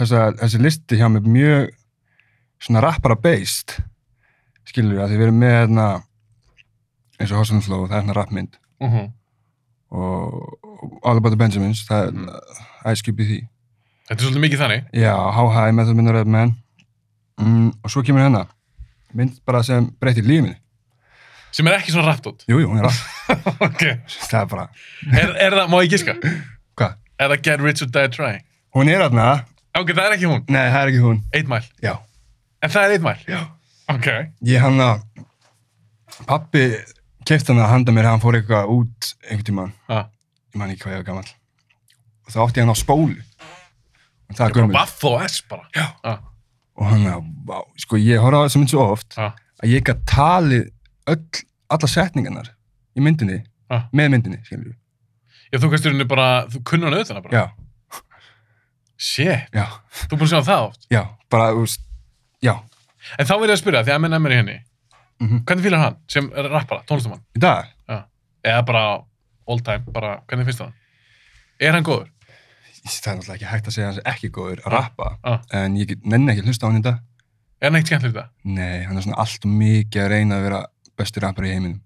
þessa, þessi listi hjá mér mjög svona rappara based, skilur við, að þið verið með hérna, eins og Hossan Flow, það er hérna rappmynd
uh -huh.
og og All About the Benjamins, það er
Mhm.
mm. Ice Cube í því.
þetta er svolítið mikið þannig.
Já, How High, Method Man og Red Man mm, og svo kemur hérna mynd bara sem breytir lífið minni
Sem er ekki svona raptótt.
Jú, jú, hún er allt
ok,
Það er bara,
er, er það, má ég giska?
hvað?
Er það Get Rich or Die Trying?
Hún er aðna,
Ok, það er ekki hún.
nei, það er ekki hún
Eitt mæl.
Já,
En það er eitt mæl.
já
Ok.
Ég hann að pappi keift hann að handa mér hann fór eitthvað út einhvern tímann,
Ah.
ég man ekki hvað ég var gamall og þá átti ég hann á spólu og
Ég
það er
er bara
gömul
baff og S bara.
Já.
Ah,
og hann að, vá, sko ég horfði á þessa mynd svo oft
ah,
að ég gæti talið öll, alla setningarnar í myndinni,
ah.
með myndinni, skilur við.
Já, þú kannst í rauninni bara, þú kunnur hann auðvitað bara.
Já,
Shit,
já,
þú er búin að sjá það oft.
já, bara, þú veist, já,
En þá verður ég að spyrja, því að MNM er í henni.
Mhm.
Hvernig fýlar hann sem er rappara, tónlistumann?
í dag,
Eða bara all time, bara, hvernig finnst það hann? Er hann góður?
það er náttúrulega ekki hægt að segja hans ekki góður að rappa,
Ah.
en ég get- nenni ekki að hlusta á hann í dag.
Er hann ekkert skemmtilegur í dag?
Nei, hann er svona allt og mikið að reyna að vera besti rappar í heiminum.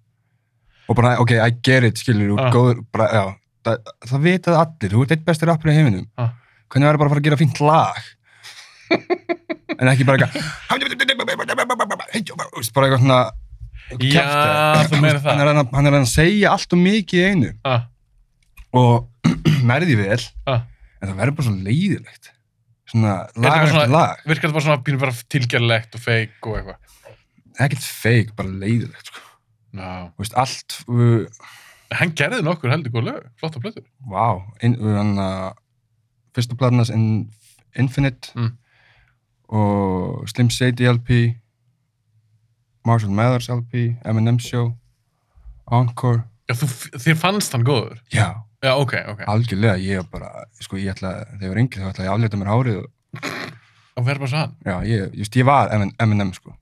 Og bara, ok, I get it, skilur, þú
Ah.
ah. góður, bara, já, það, það vita það allir, þú ert eitt besti rappar í heiminum.
Ah.
Hvernig verður bara að fara að gera fínt lag? en ekki bara eitthvað, hey, yo, þú veist, bara eitthvað svona, eitthvað
Já,
kjaftaði.
þú meinar það.
Hann er að- hann er að reyna að segja allt og mikið í einu
Ah.
og nærði vel,
Ah.
en það verður bara svo leiðilegt. Svona
bara
lag eftir
svona-
lag,
virkar þetta bara svona pínu bara tilgjörlegt og feik og eitthvað
ekkert feik, bara leiðilegt, sko.
no.
Þú veist, allt, uh,
hann gerði nokkur heldur góð lög, flotta plötur
Vá, inn, hann að fyrsta platanas in, Infinite
Mm.
og Slim Shady LP Marshall Mathers LP Eminem Show Encore
Já, þú, þér fannst hann góður?
Já,
Já, ok, ok.
algjörlega, ég var bara, sko, ég ætla, þegar ég var yngri þá ætla ég að aflita mér hárið og,
Og verður bara svo hann.
já, ég, just, ég var M- M&M, sko.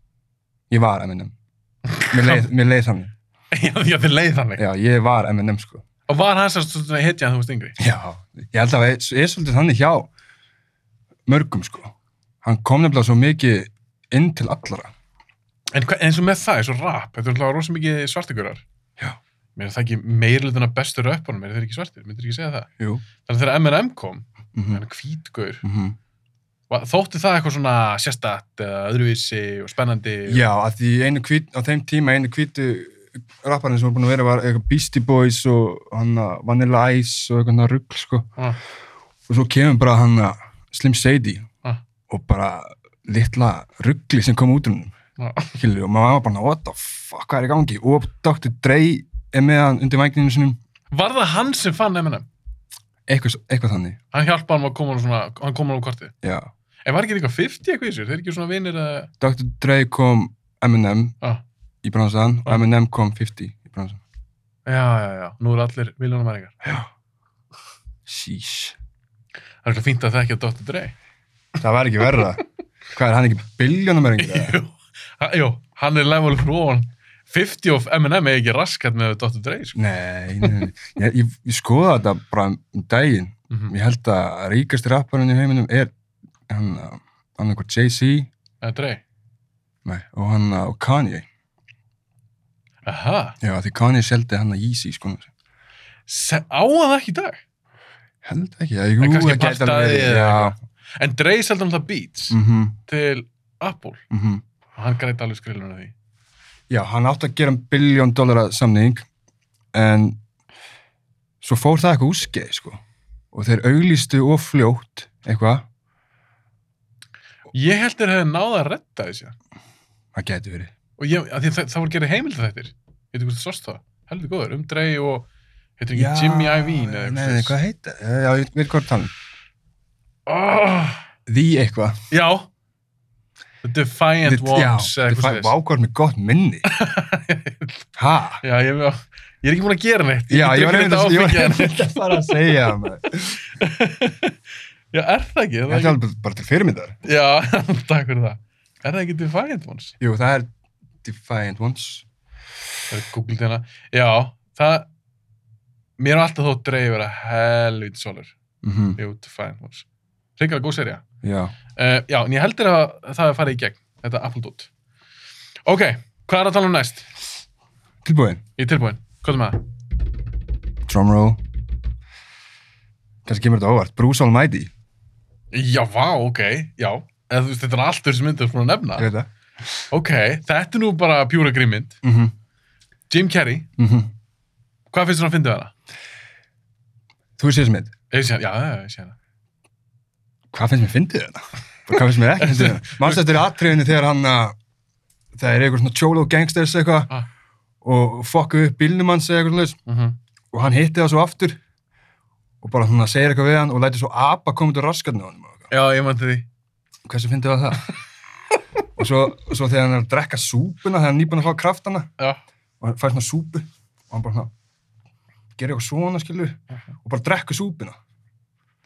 Ég var M&M. Mér leið, mér leið þannig.
Já, já, þér leið þannig.
Já, ég var M&M, sko.
Og var hann sérst svona hitja en þú veist yngri?
Já, ég held að það er svolítið þannig hjá mörgum, sko. Hann kom nefnilega svo mikið inn til allara.
En hva, eins og með það, eins og rap, þetta er alltaf rosa mikið svartigurar.
Já.
Mér er það ekki meirlutin af bestu röppunum, er þeir ekki svartir, myndir ekki segja það.
Jú.
Þannig að þegar M&M kom,
Mm
hann hvítgur,
Mm
var- þótti það eitthvað svona sérstætt, eða öðruvísi og spennandi.
Já, að því einu hvít, á þeim tíma einu hvítu rapparinn sem voru búin að vera var eitthvað Beastie Boys og hann að Vanilla Ice og eitthvað ruggl, sko.
Ah,
Og svo kemur bara hann að Slim Shady
Ah.
og bara litla ruggli sem kom út um hann,
ah.
skilju, og maður var bara, what the fuck, hvað er í gangi? Og Dr. Dre er með hann undir vægninu sinum,
Var það hann sem fann M&M?
eitthvað, eitthvað þannig,
Hann hjálpaði hann að koma hann svona, hann kom hann á kortið.
já.
En var ekki eitthvað 50 eitthvað í þessu? Þeir eru ekki svona vinir að...
Dr. Dre kom Eminem
Ah.
í bransan og
Ah.
Eminem kom 50 í bransan.
Já, já, já. Nú eru allir miljónumæringar.
Sheesh.
Það er eitthvað fínt að þekkja Dr. Dre.
Það var ekki verra. Hvað er hann ekki biljónumæringur?
Jú, ha- jú, hann er level frón. 50 of M&M er ekki raskat með Dr. Dre, sko.
Nei, nei, nei. Ég, ég, ég skoða þetta bara um daginn.
Mhm.
Ég held að ríkasti rapparinn í heiminum er hann, uh, hann eitthvað Jay-Z
Það er Dre.
nei, og hann uh, og Kanye.
Aha.
Já, því Kanye seldi hann að Yeezy, sko.
Se, á að það ekki í dag.
Held ekki, já, jú,
En kannski
það gæti
partaði
alveg verið.
eða
Já,
eitthvað. En Dre seldi um það Beats
mhm,
til Apple.
mhm.
Og hann græti alveg skrillunum því.
Já, hann átti að gera um biljón dólara samning en svo fór það eitthvað úskeið, sko. Og þeir auglýstu og fljótt eitthvað,
Ég held þeir hefði náða að redda þessu.
það gæti verið.
Og ég, að því, það, það voru gerði heimild þettir. Ég veit ekki hvort þú sást það. Heldur góður. Um Dre og, heitir ekki Jimmy Iovine eða
Nei, nei,
svoleiðis.
hvað heita? Já, ég veit hvað það er.
Oh,
Því eitthvað.
já The Defiant
Þið-
Ones
Já,
eða
þið
eitthvað
fæ-
svoleiðis.
vá, hvað er með gott minni. ha?
Já, ég, ég er ekki múin að gera neitt
Já,
get
ég var
drukkið
einmitt að ég
áfengi
var
en-
einmitt að fara að segja um það. maður.
Já, er það ekki? Er
Þetta
það
er
ekki?
alveg bara til fyrirmyndar.
Já, takk fyrir það Er það ekki Defiant Ones?
Jú, það er Defiant Ones.
Það er googlið hérna Já, það Mér er alltaf þó dreif vera helvít solur
Mm -hmm.
Jú, Defiant Ones Ríkala góð serja
Já.
uh, Já, en ég heldur að það er farið í gegn Þetta Apple Dot Ok, hvað er að tala um næst?
Tilbúin.
Ég er tilbúin, hvað er með það?
Drumroll. Kannski kemur þetta á óvart. Bruce Almighty.
Já, vá, ok, já Eða, þú veist, Þetta er allt þessi myndir frá að nefna
Ég veit það.
Ok, þetta er nú bara pjúra grímynd.
Mm -hmm.
Jim Carrey,
mhm.
hvað finnst þú að finna hana?
Þú séð sem þetta.
Ég sé hana, já, já, ég sé hana.
Hvað finnst mér fyndið þetta? Hvað finnst mér ekki fyndið þetta? Manstu eftir atriðinu þegar hann að það er eitthvað svona cholo gangsters eitthvað
Ah.
og fokkuð upp bílnum hans eða eitthvað slags
Uh -huh.
og hann hitti það svo aftur og bara svona segir eitthvað við hann og lætir svo apa koma út úr raskarnu á honum og eitthvað.
Já, ég mætti því.
Hversu fyndið það það? og svo, svo þegar hann er að drekka súpuna þegar hann er nýbúin að fá kraftana
Já.
og hann fær svona súpu og hann bara svona gerir eitthvað svona skilur og bara drekkur súpuna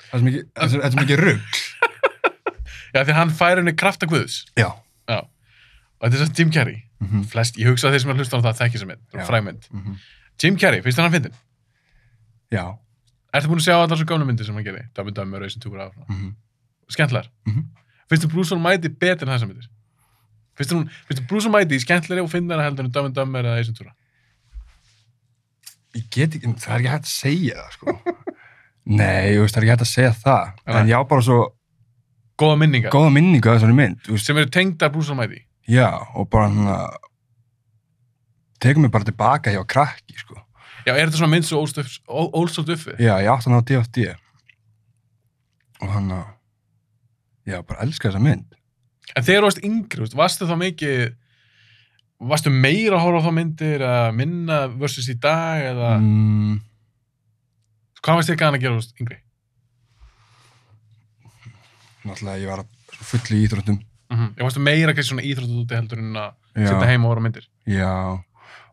það er svo mikið, það er svo- þetta er svo mikið rugg
Já, því hann fær henni krafta guðs.
já,
Já. Og þetta er svo Jim Carrey.
Mhm.
Flest, ég hugsa að þeir sem er hlustan á það þekki sem mynd,
Já.
fræmynd.
Mhm.
Jim Carrey, finnst þér hann að finna?
já
Ertu búin að sjá allar svo gamla myndir sem hann gerir? Dömmu, dömmu, rausin, túkur af.
mm -hmm.
Skemmtlar.
Mhm.
Finnst þú Bruce Almighty betur en þessar myndir? Finnst þér hún- finnst þér Bruce Almighty skemmtleri og finnara heldur en dömmu, dömmu eða rausin, túkur af?
ég get ekki, það er ekki hægt að segja það sko nei, þú veist, það er ekki hægt að segja það en
Nei.
ég á bara svo
Góða minningar
góða minningu að þessari mynd þú veist,
sem eru tengdar Bruce Almighty.
já, og bara hann að tekur mig bara tilbaka hjá krakki sko,
Já, er þetta svona mynd svo ólst upp- ó- ólst upp við?
já, ég átt hann á DFD og hann að já, bara elska þessa mynd
En þegar þú varst yngri, þú veist, varstu þá mikið varstu meira að horfa á þá myndir að minna versus í dag eða
mm.
hvað varst þér gana að gera þú veist, yngri? náttúrulega
náttúrulega ég var svo full í íþróttum
Mm -hmm. Ég varstu meira kannski svona íþróttu úti heldur en að
Mhm. já,
sitja heima og horfa á myndir.
já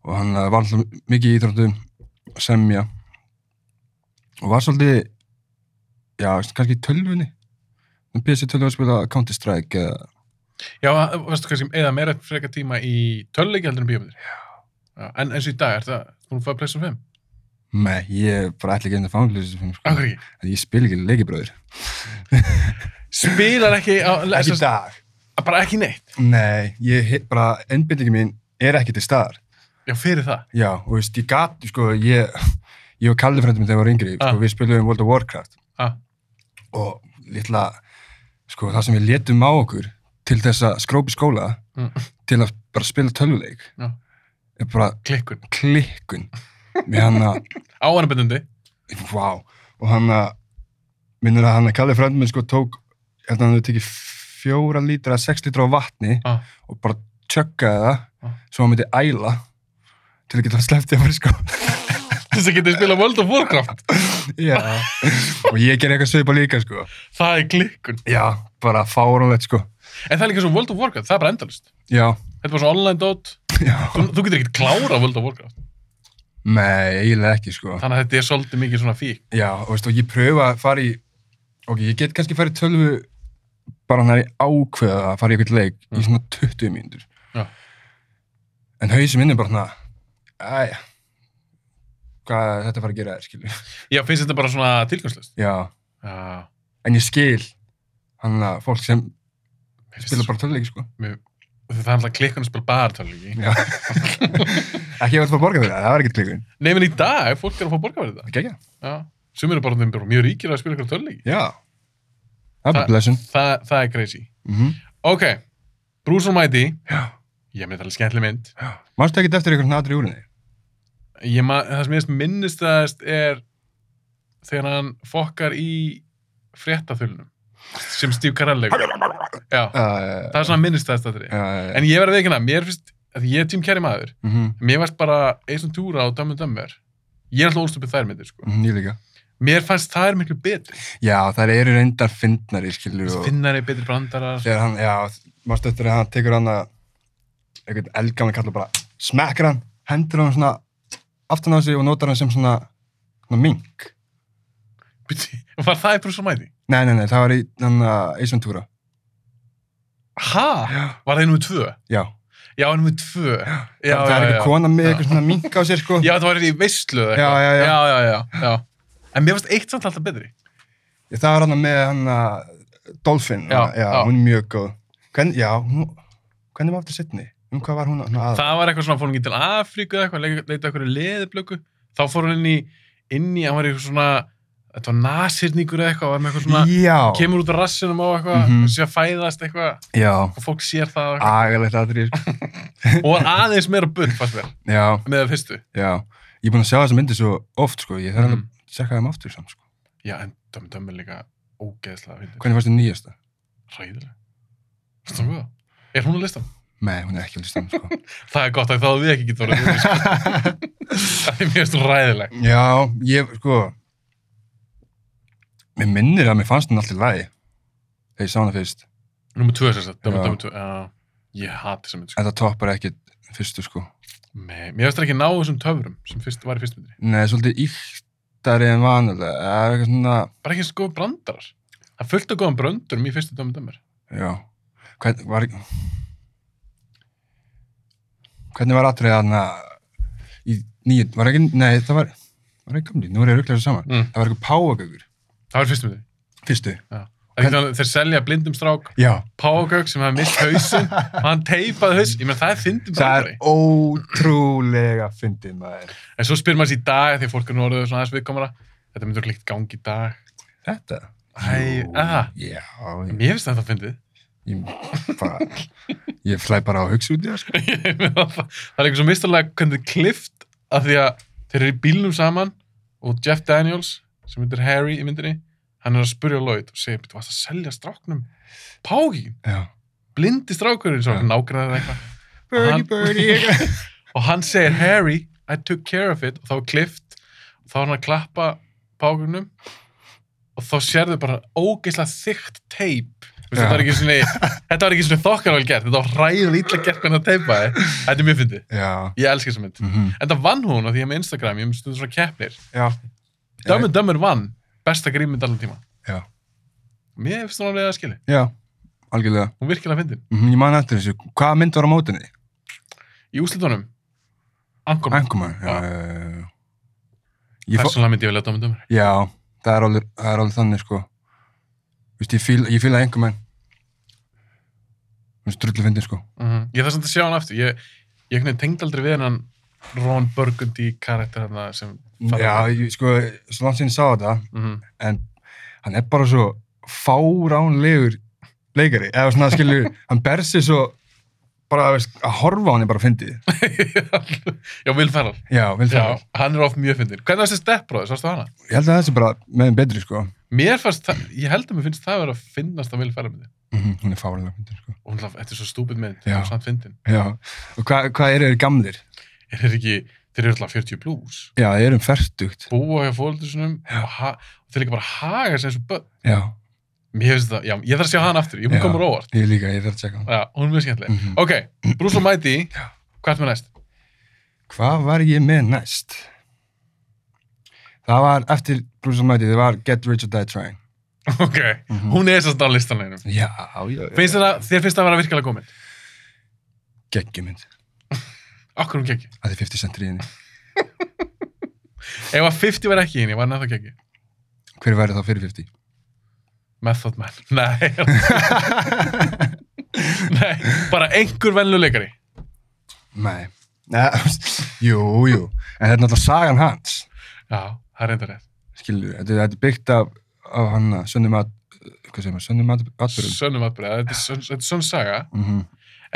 og hann eh, var alltaf mikið í íþróttum og semja og var svolítið já, kannski í tölvunni PC tölvunni að spila Counter Strike eða
Já, veistu kannski, eða meira frekar tíma í tölleiki heldur en bíómyndir. Já. En eins og í dag, er það, þú fæði pleysa 5?
Nei, ég bara ætla ekki einn að fangla þessu film, sko.
Akkur ekki.
En ég spil ekki leikibröður.
Spilar ekki, á,
Ekki í
ekki
dag.
bara ekki neitt.
Nei, ég hef bara, einbindingi mín er ekki til staðar.
Já, fyrir það.
Já, og veist, ég gat, sko, ég, ég og Kalli frændum þegar ég var yngri,
Ah.
sko, við spilum World of Warcraft
Ah.
og litla, sko, það sem við letum á okkur til þess að skrópi skóla,
Mm.
til að bara spila tölvuleik,
Já.
er bara
Klikkun.
klikkun við hann að
Áhannabendandi.
Vá, og hann að minnur að hann að Kalli frændum minn sko tók ég held að hann hefði tekið fjóra lítra sex lítra á vatni
Ah.
og bara tjökkaði það
Ah.
svo hann myndi æla til að geta sleppti að fara í sko
Þess að geta spila World of Warcraft.
Já. og ég ger eitthvað svipa líka sko
Það er klikkun.
Já, bara fáránlegt sko
En það er líka svo World of Warcraft, það er bara endalist.
Já,
Þetta er bara svona online dot.
já
Þú, þú getur ekkert klára World of Warcraft.
Nei, eiginlega ekki sko
Þannig að þetta er svolítið mikið svona fík.
Já, og veist, og ég pröfa að fara í ok, ég get kannski farið í tölvu bara hann er í ákveða að fara í eitthvað leik
Mm.
í svona 20 mínútur
Já.
en hausin minn er bara hann að æja hvað er þetta að fara að gera þér, skilur
Já, finnst þetta bara svona tilgangslust.
já,
Já.
en ég skil hann að fólk sem
mér finnst
spila
svo-
bara tölvuleiki sko
mér- Það er alltaf klikkun að spila bara tölleiki.
já ekki að verða að fá að borga fyrir það, það var ekkert klikkun
Nei, menn í dag, fólk er að fá borga fyrir þetta.
ekki ekki,
Já. Sumir eru bara þeim bara mjög ríkir að spila ykkur tölleiki.
já það er
Það-
bara blessun
Það, það er crazy.
mm -hmm.
Ok, Bruce Almighty.
já,
Ég meni þetta er alveg skemmtileg mynd.
já mannstu ekki eftir eitthvað natri úr henni
Ég, ma- það sem ég minnist aðeins er þegar hann fokkar í fréttaþulunum sem Steve Carell leikur. Já,
uh,
það er svona minnist aðeins þetta er.
uh,
En ég verði ekki hana, mér finnst, að ég er tímkæri maður,
mm -hmm.
mér varst bara eins og túra á Dömmu Dömmur. Ég er alltaf ólst upp við þær myndir, sko.
Mhm, ég líka
Mér fannst þær miklu betri.
Já, það eru reyndar fyndnari, skilur og
Finnari, betri brandarar.
þegar hann, já, mástu eftir að hann tekur hann að einhvern eldgamla kall og bara smekkar hann, hendur hann svona aftan á sig og notar hann sem svona, svona mink.
Var það í Bruce Almighty?
Nei, nei, nei, það var í hann að Ace Ventura.
Ha?
Já.
Var það í nummið tvö?
Já,
Já, en nummið tvö. Já, já,
það er
já.
eitthvað kona með
Já.
eitthvað svona mink á sér, sko.
Já, það var í veistlu eða
Já, já, já.
já, já, já, já. En mér finnst eitt samt alltaf betri.
Það var hann með hann að Dolphin,
Já,
já,
já.
hún er mjög góð. Hvern, já, hún, hvernig var aftur sittni? Um hvað var hún að- svona aða?
Það var eitthvað svona, fór hún ekki til Afríku eða eitthvað, leita leita eitthvað leðublöku. Þá fór hún inn í, inn í, hann var í eitthvað svona, þetta var nasirningur eða eitthvað, var með eitthvað svona,
Já,
kemur út af rassinum á eitthvað, mm
Mhm.
-hmm. sé að fæðast eitthvað,
já,
og fólk sér það og eitthvað.
agalegt aðrið, sko.
Og var aðeins meira bull, fannst mér,
Já,
með það fyrstu.
Já, ég er búinn að sjá þessa myndi svo oft, sko, ég þarf mm.
Mm.
að sekka þeim aftur samt, sko.
Já, en dömur dömur líka ógeðslega fyndið.
Hvernig fannst þér nýjasta?
Ræðilega. Fannst það góða? Er hún að lista?
Nei, hún er ekki alveg stann, sko.
Það er gott að þá hefðum við ekki getur að lista. Það er mjög ræðileg.
Já, ég, sko, mér minnir að mér fannst hún alltaf lægi þegar ég sá hana fyrst,
Númer 2 sem sagt, Dömmu
Já.
Dömmu 2, já. Ég hati þessa mynd, sko.
en það toppar ekkit fyrstu, sko.
Nei, mér finnst það ekki ná þessum töfrum sem fyrst, var í fyrst myndri.
Nei, svolítið íktari en vanalega, það er eitthvað svona,
Bara ekki eins og góðum brandarar. Það er fullt af góðum bröndurum í fyrstu Dömmu Dömmur.
já, hvern, var, hvernig var atrið hann að, í nýju, var ekki, nei, það var, var ekki gamli, nú er ég rugglega saman.
Mm.
Það var eitthvað páagögur.
Það var í fyrstu myndri.
Fyrstu?
Það er ekki þannig að Þeir selja blindum strák,
Já.
Págauk sem hefði mist hausinn og hann teipaði hausinn. Ég menn það er fyndum
Það er
brandari.
ótrúlega fyndið maður.
En svo spyr maður sér í dag þegar fólk er nú orðið svona aðeins viðkomara. Þetta myndur líkt gangi í dag.
Þetta?
Æ,
Jú,
aha.
Já, ég,
Mér finnst það það fyndið.
ég, bara, ég flæ bara á hugsa út í það, sko.
Ég meina, það það er eitthvað svo mistalega hvernig þið klift að því að þeir eru í bílnum saman og Jeff Daniels sem myndir Harry í myndinni hann er að spurja Lloyd og segir þú varst að selja stráknum pági,
Já.
blindi strákurinn svo
Já.
nágræðið eitthvað
Birdie,
Hann-
birdie.
og hann segir Harry, I took care of it og þá er klift og þá er hann að klappa páginnum og þá sérðu bara ógeislega þygt teip Þú veist, þetta var ekki svona, þetta var ekki svona þokkarvel gert, þetta var hræðilega illa gert hvernig það teipaði. Þetta er mjög fyndið.
Já,
Ég elska þessa mynd.
mhm,
En það vann hún af því að með Instagram, ég hef stundum svona keppnir.
já,
Dumb and Dumber vann besta grímynd allan tíma.
já,
Mér finnst hún alveg að skilja.
já, algjörlega.
Hún er virkilega fyndin.
Mm ég man eftir þessu, hvaða mynd var á mótinni?
Í úslitunum, Ankorn.
Anchorman, Ah. já,
Já.
já, já, já. Ég fó-
Persónulega myndi ég vilja Dumb and Dumber.
Já, það er alveg, það er alveg þannig sko Vist, ég fíla, ég fíla einhver menn Mér finnst drullu fyndin sko
Mhm. Ég þarf samt að sjá hann aftur. Ég, ég einhvern veginn tengd aldrei við hennan Ron Burgundy karakter hann sem...
Já, ég, sko, svo langt sinni sá þetta
Mhm.
en hann er bara svo fáránlegur leikari eða svona skilur, hann ber sig svo bara veist, að horfa á hann er bara fyndið
Já, Will Ferrell.
Já, vil
Já,
það
hann er oft mjög fyndin. Hvernig var þessi steppbróður, sástu hana?
Ég held að þessi bara með þeim betri sko
Mér fannst það, ég held að mér finnst það að vera að finnast að Will Ferrell myndi.
mm Hún er fáránlega fyndin sko
Og hún laf, þetta er svo stúpid mynd,
Já.
það er samt fyndin.
Já, og hvað hva eru þeir gamlir?
Er þeir ekki, þeir eru alltaf 40 plus.
Já, þeir eru um ferstugt
Búa hjá fólöldur sinum og, ha, og þeir líka bara haga sem þessu börn.
Já,
Mér finnst það, já, ég þarf að sjá hann aftur, ég
Já.
mun koma róvart.
ég líka, ég þarf að tjekka hann
Já, hún er mjög skemmtileg.
Mhm.
Ok, Bruce Almighty,
Já.
hvað er með næst?
Hvað var ég með næst? Það var eftir Bruce Almighty, það var Get Rich or Die Trying. Mhm.
Ok, hún er sérst á listanleginum.
Já, já, já.
Finnst þér að, þér finnst það að vera virkilega góð mynd?
Gekkjumind.
Akkur hún kekki.
Það er 50 cent í henni.
Ef að 50 var ekki í henni, var hann að kekki.
Hver væri þá fyrir 50?
Method Man. Nei. Nei, bara einhver venlu leikari.
Nei. Nei, jú, jú. En þetta er náttúrulega sagan hans.
Já, það er reyndar rétt.
Skilur, þetta, þetta er byggt af, af hann, eh, sönnum að, hvað segir maður, sönnum að, atbyrjum.
Sönnum atbyrða, þetta er sönn- þetta er sönn saga.
Mm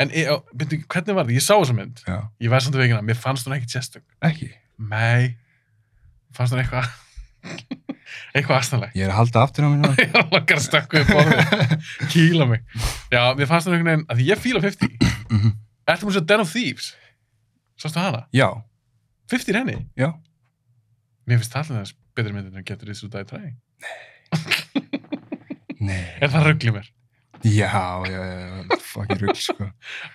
En ég, á- byrju, hvernig var það? Ég sá þessa mynd.
Já,
Ég verð samt að veikina, mér fannst hún ekkert sérstök.
ekki.
Nei, fannst hún eitthvað, eitthvað astanleg.
Ég er að halda aftur á mér núna.
Ég var langar að stökku upp á því, kýla mig. Já, mér fannst hún einhvern veginn, að því ég fíla 50.
Mhm.
Ertu múin svo Den of Thieves? Sástu hana?
Já,
50 er henni?
já.
Mér finnst allir þess betri myndin en getur þessu dag í træði.
Nei.
Er það rugglið mér?
Já, já, já, já. Fucking rugg, sko.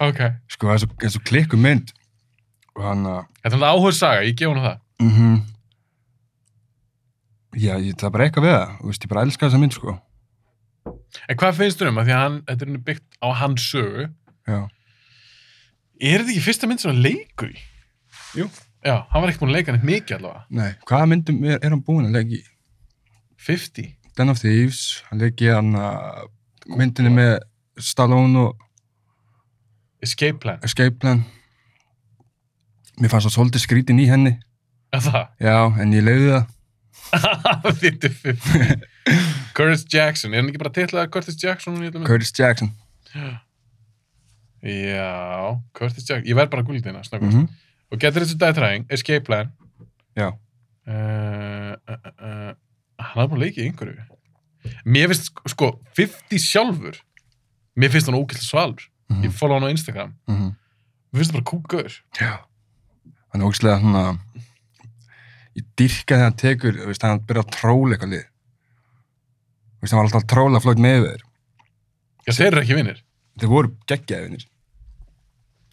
Ok.
Sko, það er svo, það er svo klikku mynd og hann að
Þetta er alveg áhugur saga, ég gef hún það.
mm Já, ég, það er bara eitthvað við það Þú veist, ég bara elska þessa mynd, sko
En hvað finnst þú um að því að hann, þetta er henni byggt á hans sögu,
Já,
er þetta ekki fyrsta mynd sem hann leikur í?
Jú.
Já, hann var ekki búin að leika neitt mikið allavega.
nei Hvaða myndum er, er hann búinn að leggja í?
50.
Den of Thieves, hann leggja í hann að myndinni með Stallone og
Escape Plan.
Escape Plan Mér fannst það svolítið skrítin í henni
Er það?
Já, en ég leiði það
Þetta er 50. Curtis Jackson, er hann ekki bara titlaðið Curtis Jackson? hún í öllum myndum?
Curtis Jackson
Já, Curtis Jackson. Ég verð bara að gulda hérna,
mm
snakkast. Og getur þessu dagtræðing, Escape Plan.
Já,
uh, uh, uh, hann hafði búin að leika í einhverju mér finnst sk- sko 50 sjálfur mér finnst hann ógæslega svalur
mm
ég follow hann á Instagram
mm
mér finnst það bara kúkaur
Já. Hann er ógislega svona, ég dyrka þegar hann tekur, þú veist, hann byrja að tróla eitthvað lið. Þú veist, hann var alltaf að tróla flótt með þeir.
já þeir eru ekki vinnir
Þeir voru geggjaðinir.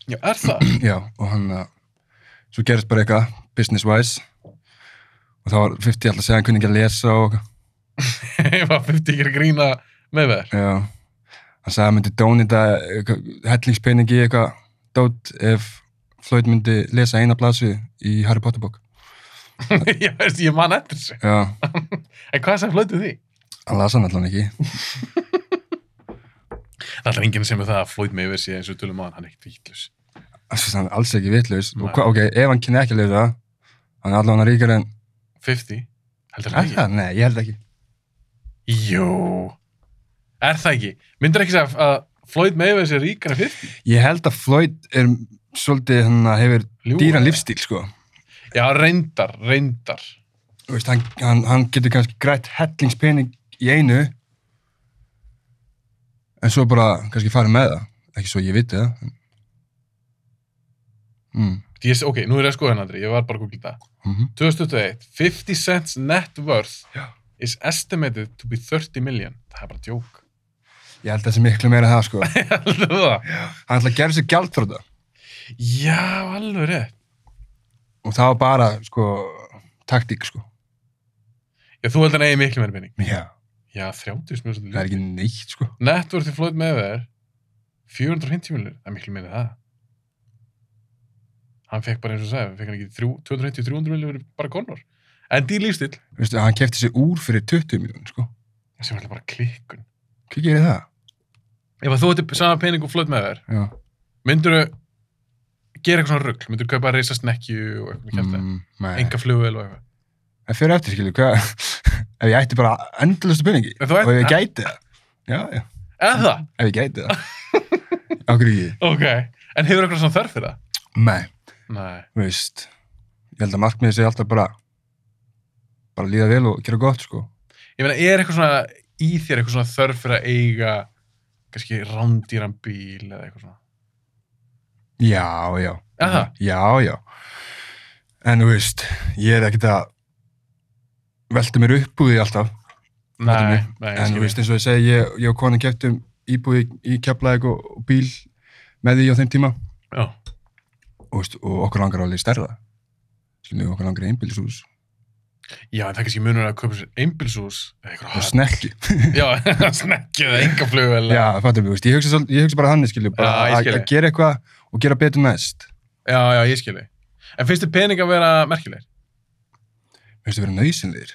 já er það
Já, og hann, uh, svo gerist bara eitthvað, business wise. Og þá var 50 alltaf að segja hann kunni ekki að lesa og eitthvað.
ég var 50 ekki að grína með þær
Já, hann sagði að hann myndi dónita eitthvað, hellingspeningi í eitthvað, dót ef Floyd myndi lesa eina blasu í Harry Potter bók.
ég veist ég man eftir þessu
Já,
en hvað sem flötu því
hann lasa hann allan ekki.
það er enginn sem er það að flóið með yfir sig eins og við tölum á hann hann er ekkert vittlus
Þessi, hann er alls ekki vitlaus. Og
Nei.
hva, ok, ef hann kynni ekki að lesa, hann er allavega ríkar en...
50 heldur
Er
það ekki
það? Nei, ég held ekki.
jú er það ekki myndir ekki segja að flóið með yfir sig ríkana 50
Ég held að Floyd er svolítið, hann hefur
Ljúga.
dýran lífstíl, sko.
já reyndar reyndar
Þú Veist, hann, hann, hann getur kannski grætt hellingspening í einu, en svo bara kannski farið með það. Ekki svo ég viti það. en- Mm.
Ég, ok, nú er ég að skoða hérna, Andri, ég var bara að googla það.
Mm
2021, 50 cents net worth
Já.
is estimated to be 30 million. Það er bara djók.
Ég held að það sé miklu meira en það, sko.
Heldur þú það?
Hann ætlaði að gera sér gjaldþróta
Já, alveg rétt.
og það var bara, sko, taktík, sko.
Já, þú held að hann eigi miklu meira pening.
Já.
Já, 30 mjög
Það er
svolítið.
ekki neitt, sko.
Nettvort í flóð með þér, 450 miljonir, það er miklu meira en það. Hann fekk bara eins og sagði, hann fekk hann ekki 250-300 miljonir bara konur. En dýr lífstil,
Vistu, hann kefti sér úr fyrir 20 miljónir, sko.
sem er alltaf bara klikkun.
Hvað gerir það?
Ef að þú ætti sama pening og flóð með þér,
Já.
myndur gera eitthvað svona rugg, myndur kaupa að reysa snekkju og eitthvað kjæfta, mm,
Mm, nei.
enga flugvel og eitthvað.
Það fyrir eftir, skilju, hvað? ef ég ætti bara endalustu peningi
En þú
og ef ég
ætti,
gæti það. Já, já.
eða,
Ef ég gæti það. Akkur ekki.
ok, en hefur eitthvað svona þörf fyrir það?
Nei,
Nei,
þú veist. Ég held að markmiðið sé alltaf bara bara líða vel og gera gott, sko.
ég meina, er eitthvað svona í þér eitthvað svona þörf fyrir að eiga kannski rándýran bíl eða eitthvað svona?
Já, já.
Er það?
Já, já. En þú veist, ég er ekkert að velta mér upp úr því alltaf.
Nei,
Þetta
nei, ég
En þú
skil
veist,
ég.
eins og ég segi, ég, ég og konan keftum íbúið í, í keflaðið og, og bíl með því á þeim tíma
Já,
og, veist, og okkur langar alveg í stærra. Skiljum, okkur langar í einbílisús
Já, en það er kannski munur að köpa sér einbilsús eða eitthvað
og snekki.
Já, snekju eða enga flugvel. Já.
Já, fattum við, veist, ég hugsa, svol- ég hugsa bara þannig, skiljum, bara
Já, ég
að-
skil
að
þig.
gera eitthvað og gera betur næst.
já, ég skil ég. En finnst þið pening að vera merkilegir?
Þú veist, vera nöysinleir.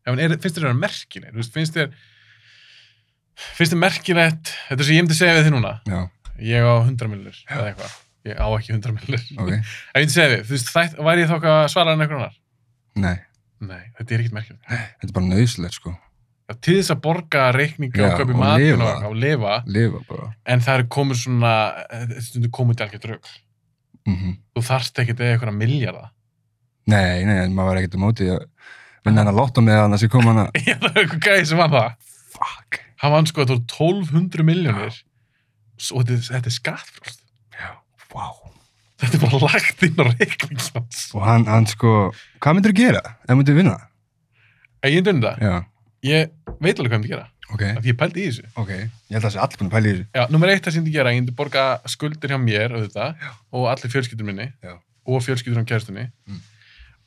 Já, en er, finnst þér að vera merkilegir? Þú veist, finnst þér finnst þér merkilegt þetta sem ég myndi segja við þið núna
Já,
ég á 100 millir eða eitthvað ég á ekki 100 millir
ok.
ef ég myndi segja við, þú veist, þætt, væri ég þá eitthvað að svara en eitthvað annar?
Nei,
Nei, þetta er ekkert merkilegt
þetta er bara nöysinleir, sko.
Já, til þess að borga reikninga
Já,
og kaupi
og
matin
lifa.
og, og lifa
Lifa bara.
en það er komið svona þetta stundu komið til algjör draug
Mm
þú þarft ekkert eða eitthvað miljarda
Nei, nei, en maður var ekkert á móti að vinna hann að lotta með hann að sér koma hann að
ég það er eitthvað gæði sem var það
fuck,
hann vann sko að þú 1200 miljónir og þetta, þetta er skattfrálst
wow
þetta er bara lagt inn á reikningsmanns
og hann, hann sko, hvað myndir þú gera ef myndir vinna?
en ég dundi það,
Já,
ég veit alveg hvað ég myndi gera
ok,
af því ég pældi í þessu
ok ég held að það sé allir búin að pæla í þessu
Já, nummer eitt það sem ég myndi gera, ég myndi borga skuldir hjá mér auðvitað, og allir fjölskyldur minni
Já.
og fjölskyldur hjá kæristunni
Mm.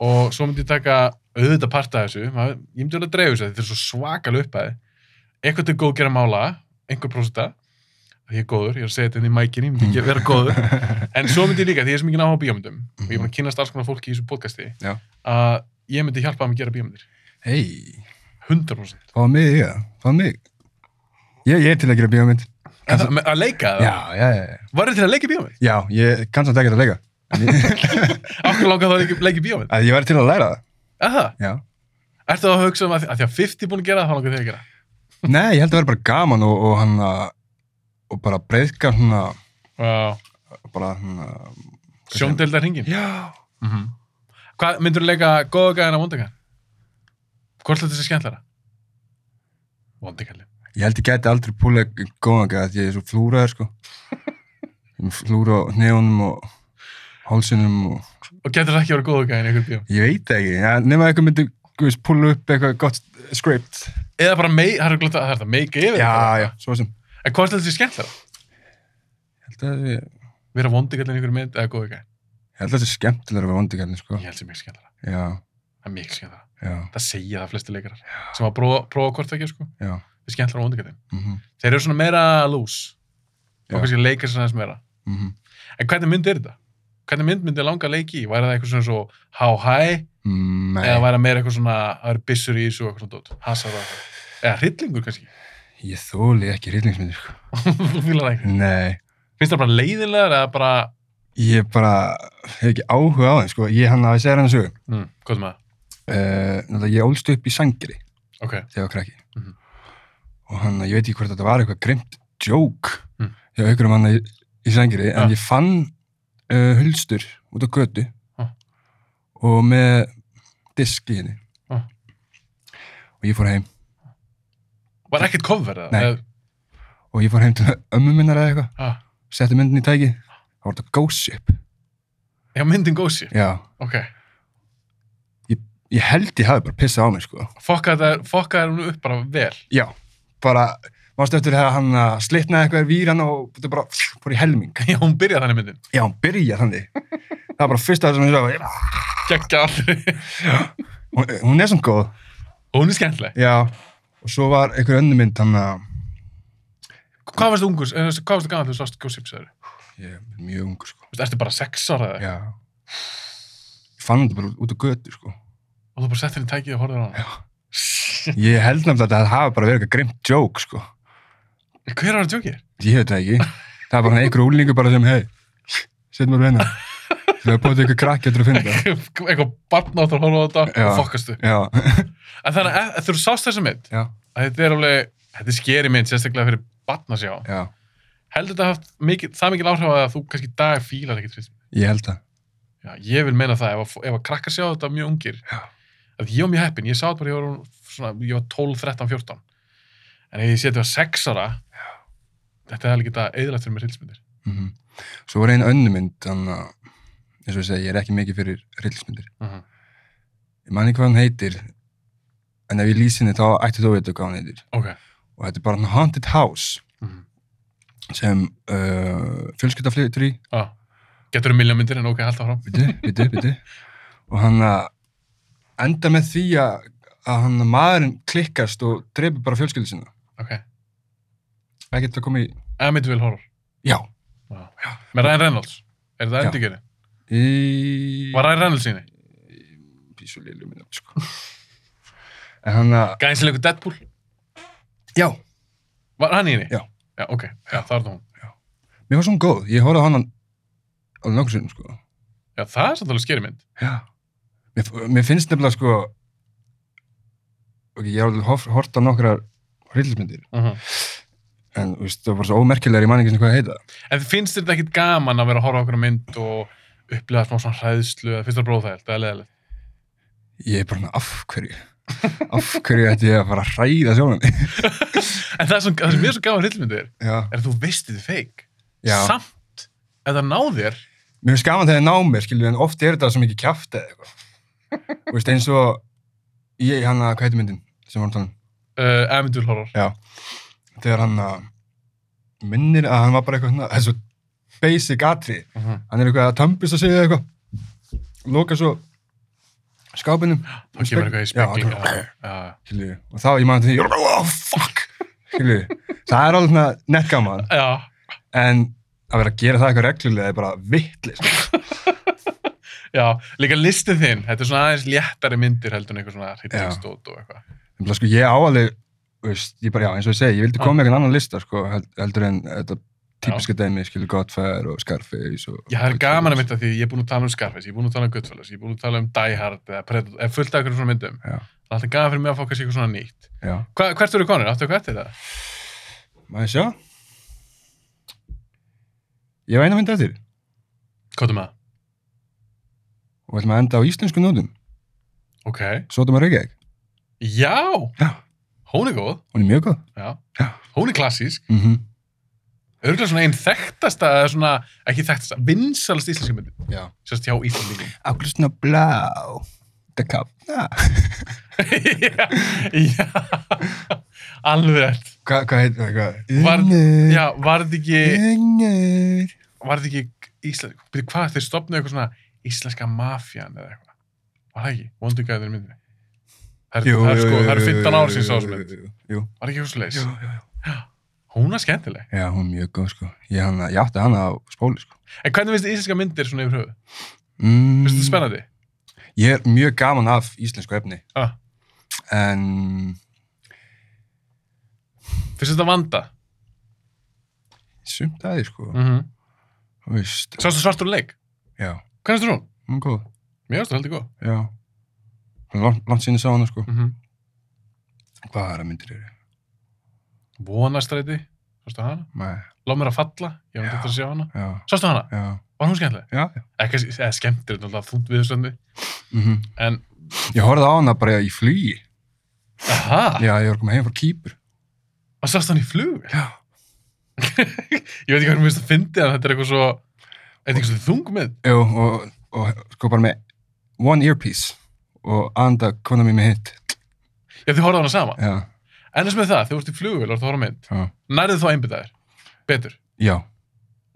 og svo myndi ég taka auðvitað part af þessu, maður, ég myndi alveg að dreifu þessu þetta er svo svakal uppæði eitthvað til góð gera mála, einhver prósita því ég er góður, ég er að segja þetta inn í mækinni ég myndi ekki vera góður,
Mm.
en svo myndi ég líka því ég er sem ekki náha á bíómyndum og ég er búin að kynast alls konar fólki í þessu podcasti
Já.
að ég myndi hjálpa þeim að gera bíómyndir
hei,
100%
fá mig í það, fá mig ég, ég er til að gera bíómynd
En það- að leika
já,
það,
já, já, já,
var þetta til að leika bíómynd?
já ég kann samt ekkert að leika en ég,
Akkur langar það að leika- leika bíómynd?
að ég væri til að læra það,
Að það?
já
Ertu þá að hugsa um að, að því að 50 er búin að gera það, þá langar þig að gera?
nei, ég held að vera bara gaman og, og hann að og bara breyðka svona
Já.
bara svona
Sjóndeldar hringin?
já,
Mm
Mhm.
Hvað myndur þú leika góða gæðina vondagæðin? Hvort er þetta sé skemmtlara? Vondagæðin.
Ég held ég gæti aldrei púla góðan gæði að ég er svo flúraður sko. Ég er með flúra á nefnum og hálsinum og
Og getur það ekki að vera góða gæðin í einhver bíum?
ég veit það ekki. Ja, nema eitthvað myndi þú veist, púla upp eitthvað gott script.
Eða bara mei, það er glætt að það er þetta, meika yfir. þetta.
Já, já, svo sem.
En hvort er þetta sé skemmtlara?
Ég held að það sé-
Vera vondagæðin í einhver mynd eða góða gæðin?
ég held að það sé skemmtilega að vera vondi gæðin sko.
Ég held sem mikil skemmtlara.
Já,
Það er mikil skemmtlara.
já,
Það segja það flesti leikarar sem að prófa, prófa hvort það ekki, sko.
já.
Það er skemmtlara vondagæðin.
mhm,
Þeir eru svona meira lús.
Já.
Og kannski leikar sem aðeins meira.
mhm,
En hvernig mynd er þetta? Hvernig mynd myndi langa að leiki í? Væri það eitthvað svona svo how high
mm,
eða
Nei,
væri það meira eitthvað svona að vera byssur í þessu og eitthvað svona dót? Hasar það. Eða hryllingur kannski?
ég þóli ekki rýtlingsmyndir sko.
Þú fílar það ekki.
Nei,
Finnst það bara leiðinlegar eða bara,
ég bara hef ekki áhuga á þeim sko. Ég hann að ég segja hann að sögum.
mm, hvað er með það?
Uh, ég ólst upp í sangri.
Ok.
þegar ég var krakki
Mhm.
og hann, ég veit ekki hvort þetta var eitthvað grimt joke
Mm.
hjá ykkur um hann í, í sængiri, en
Ja.
ég fann uh, hulstur út á götu
Ah.
og með disk í henni
Ah.
og ég fór heim
Var ekkert cover eða?
Nei.
Eða,
og ég fór heim til ömmu minnar eða eitthvað
ah,
setti myndin í tæki, þá var þetta ghost ship
já, myndin gósi.
já,
Ok.
ég held ég hafi bara pissað á mig sko
Fokka það, fokka það hún upp bara vel.
já, bara Mástu eftir þegar hann að slitnaði eitthvað í víran og þetta bara fór í helming.
Já, hún byrjaði þannig myndin.
Já, hann byrja þannig. Það er bara fyrsta það sem ég sagði,
Gekka allir.
hún, hún er svona góð.
Og hún er skemmtileg.
Já, og svo var einhver önnum mynd, hann uh, að
Hvað varst þú ungur, eh, hvað varst þú gaman þegar þú sást Gossips þegar?
ég er mjög ungur, sko.
Þú veist, ertu bara sex ára eða? eitthvað?
Já. Ég fann þetta bara út á götu, sko.
Og þú bara settir henni tækið og horfir á hana.
Ég held nefnilega að þetta hafa bara verið eitthvað grimt joke, sko.
Hver var það tjókið?
Ég veit það ekki. Það er bara hann einhver úlingu bara sem, hei, setjum maður hérna. Það er búin eitthvað krakkja til að finna það.
Eitthvað barn áttur að horfa á þetta
Já.
og fokkastu.
Já,
En þannig að ef- þegar þú sást þessa mynd,
já,
að þetta er alveg, þetta er skeri mynd sérstaklega fyrir barn að sjá.
já.
Heldur þetta haft mikil, það mikil áhrif að þú kannski í dag fílar ekkert fyrst?
Ég held það.
Já, ég vil meina það, ef að, ef að krakkar sjá þetta mjög ungir.
Já.
Að ég var mjög heppin, ég sá þetta bara, ég var, svona, ég var 12, 13, 14. En ef ég sé þetta var 6 ára, Já. þetta hefði ekki þetta eðlægt fyrir mér hilsmyndir.
Mm Svo var einn önnumynd, þannig að, eins og ég segi, ég er ekki mikið fyrir rillismyndir.
Uh -huh.
Ég man ekki hvað hann heitir, en ef ég lýs henni þá ætti þú að vita hvað hann heitir.
Ok.
Og þetta er bara hann Haunted House
Mm -hmm.
sem uh, fjölskylda flytur í,
ah. Getur um miljónmyndir en ok, held það fram.
bitu, bitu, bitu. Og hann að enda með því að, að hann að maðurinn klikkast og dreipur bara fjölskyldu sinna.
Ok.
Það getur að koma í,
Emmett Will Horror.
já,
Já.
Já.
Með Ryan Reynolds. Er þetta
Já.
endurgerði?
í...
Var Ryan Reynolds síni?
Písu lilu minna, sko. En hann að,
Gænsilegu Deadpool?
já,
Var hann í henni?
Já.
Já, ok. Já, það er það hún.
mér var svona góð. Ég horfði á hann alveg nokkur sinnum, sko.
Já, það er samtalið skeri mynd.
Já. Mér, mér finnst nefnilega sko ok, ég hef alveg hof- hort á nokkrar hryllismyndir,
Uh
en þú veist, það var bara svo ómerkilegar í manningi sem hvað heita.
En finnst þér þetta ekkit gaman að vera að horfa okkur á mynd og upplifa smá svona hræðslu eða finnst þér bróðhælt eða leðilegt?
Ég er bara svona, af hverju? af hverju ætti ég að fara að hræða sjálfum mig?
En það sem, það sem mér er svo gaman hryllmyndir
Já.
er að þú veist þetta er feik.
Já.
Samt, ef það náðir,
Mér finnst gaman þegar það ná mér, skilju, en oft er þetta svo mikið kjaft eða eitthvað. Þú veist, eins og ég, hann að, hvað heitir myndin sem var hann
uh, Amityville Horror.
þegar hann að minnir að hann var bara eitthvað svona, þessu basic atri.
Uh -huh.
hann er eitthvað að tömbist að segja eitthvað loka svo skápinum
Þá kemur eitthvað í
Já,
spekling.
það kemur-
Já,
skilju, og þá ég maður til því oh fuck skilju, það er alveg svona nett gaman
já. já.
en að vera að gera það eitthvað reglulega er bara vittlis
Já, líka listið þinn, þetta er svona aðeins léttari myndir heldur en eitthvað svona hittingstót og eitthvað.
sko, ég áalveg veist, ég bara, já, eins og ég segi, ég vildi koma með einhvern annan lista sko, held- heldur en þetta típiska dæmi, skilju, Godfair og Scarface og,
Já, það er gaman að mynda því ég er búinn að tala um Scarface, ég er búinn að tala um Goodfellas, ég er búinn að tala um Die Hard eða Predator, eða fullt af einhverjum svona myndum.
Já.
Það er alltaf gaman fyrir mig að fá kannski eitthvað svona nýtt.
já,
Hva, hvert eru konur? Áttu hvert er það?
maður sjá ég var eina mynd eftir
Kóttum að.
og ætlum að enda á íslensku nótum
Ok.
Sotum að Reykjavík,
Já!
Já.
Hún er góð.
hún er mjög góð
Já.
Já.
Hún er klassísk.
mm
Örgulega svona einn þekktasta, eða svona, ekki þekktasta, vinsalast íslenska myndin.
Já.
Sérst hjá Íslandingum.
Áglustin á blá Það kapna
já. Já. Alveg rétt.
Hvað hva heitir það? Hvað?
Var-
Unnur
Já, var þetta ekki...
Unnur
var þetta ekki Ísland, byrju hvað, þeir stopnaðu eitthvað svona íslenska mafjan eða eitthvað var það ekki, vondu gæðir myndinni það eru- það eru sko, það eru 15 ár sín sásmynd
jú, jú,
var ekki eitthvað
jú,
leis,
jú.
hún er skemmtileg
Já, hún er mjög góð sko Ég, hana, ég átti hana á spóli sko
en hvernig finnst þið íslenska myndir svona yfir höfuð,
mm,
finnst þetta spennandi
Ég er mjög gaman af íslensku efni
ah,
En
finnst þetta vanda
Sumt aðeins sko
mm -hmm.
Þú veist
sástu svartur leik,
Já,
hvernig finnst þú hún?
hún er góð
mér finnst það heldur góð
Já Langt, langt sinni sá hana sko
mm -hmm.
Hvað aðra myndir eru?
vonastræti, sástu hana
Nei,
lág mér að falla, ég var
Já.
þetta að sjá hana
já,
sástu hana,
já,
var hún skemmtileg?
já, já.
ekki, eða skemmtir, náttúrulega þúnt viðstöndi
Mm
en,
Ég horfði á hana bara í flugi
aha,
Já, ég var komið heim frá Kýpur.
og sástu hann í flug
Ah. Já.
ég veit ekki hvað mér finnst að fyndi en þetta er eitthvað svo þetta er eitthvað svo þungmið
Jú, og, og sko bara með one earpiece og anda konar mér með hitt.
já þið horfðu á hana sama
Já.
En eins með það, þegar þú ert í flugvél og ert að horfa á mynd,
Já.
nærðu þá einbyttaðir, betur,
Já.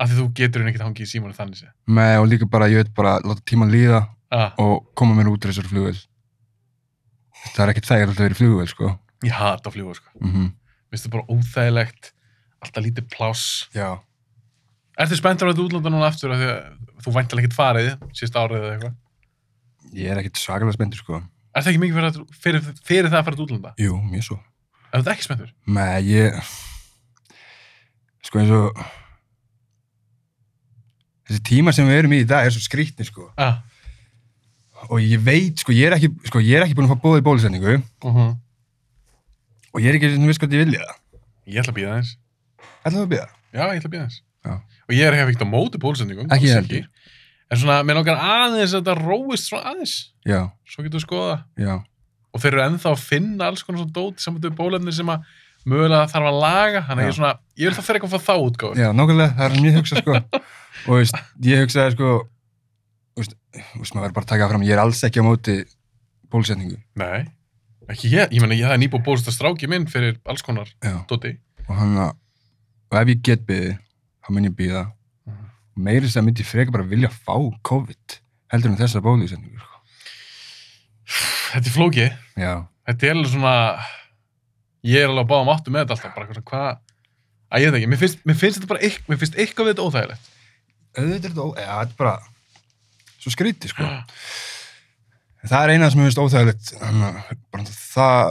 af því þú getur henni ekkert hangið í símónu þannig sé.
Með, og líka bara, ég veit bara, láta tíman líða
Ah,
og koma mér út úr þessar flugvél. Það er ekkert þegar alltaf verið flugvél, sko.
ég hata að fljúa, sko.
Mm
Mér finnst það bara óþægilegt, alltaf lítið pláss.
Já.
Ertu spenntur að þetta útlanda núna aftur af því að þú væntalega ekkert farið síðasta árið eða eitthvað?
Ég er ekkert svakalega spenntur, sko.
Er það ekki mikið fyrir, að- fyrir, fyrir það að fara til útlanda?
Jú, mjög svo.
Ef þú ert ekki spenntur?
Nei, ég... Sko eins og... Þessi tíma sem við erum í í dag er svo skrítni, sko.
Ah,
Og ég veit, sko, ég er ekki, sko, ég er ekki búin að fá bóðið bólusendingu
uh -huh.
og ég er ekki svona viss hvort ég vilja það.
Ég ætla að býða eins.
Ætlaðu að bíða?
Já, ég ætla að býða eins.
Já.
Og ég er ekki ekkert á móti pólsendingum.
Ekki
alls
heldur.
En svona, mér langar aðeins að þetta róist svona aðeins.
Já,
Svo getur við skoða.
já,
Og þeir eru ennþá að finna alls konar svona dót saman til bólefni sem að mögulega þarf að laga. Þannig að ég er
Já.
svona, ég vil það fyrir eitthvað að fá það útgáður.
já, nákvæmlega, það er mjög hugsað, sko. og veist, ég hugsaði, sko, veist, veist, maður verður bara að taka það fram, ég er alls ekki á móti bólusendingu.
Nei, ekki ég. Ég meina, ég hafði nýbúið bólist að stráki minn fyrir alls konar
Já.
dóti.
Og hann að, og ef ég get byðið, þá mun ég býða.
Mhm.
Meiri sem myndi ég frekar bara vilja fá COVID, heldur en þessa bólusendingu, sko.
Þetta er flókið.
Já,
Þetta er alveg svona, ég er alveg að báða áttu með þetta alltaf. Bara eitthvað svona, hvað, að ég veit ekki. Mér finnst, mér finnst þetta bara, eitth- mér finnst eitthvað við þetta óþægilegt.
auðvitað er þetta ó... Já, þetta er bara svo skrítið, sko. Það er eina sem mér finnst óþægilegt, þannig að bara það,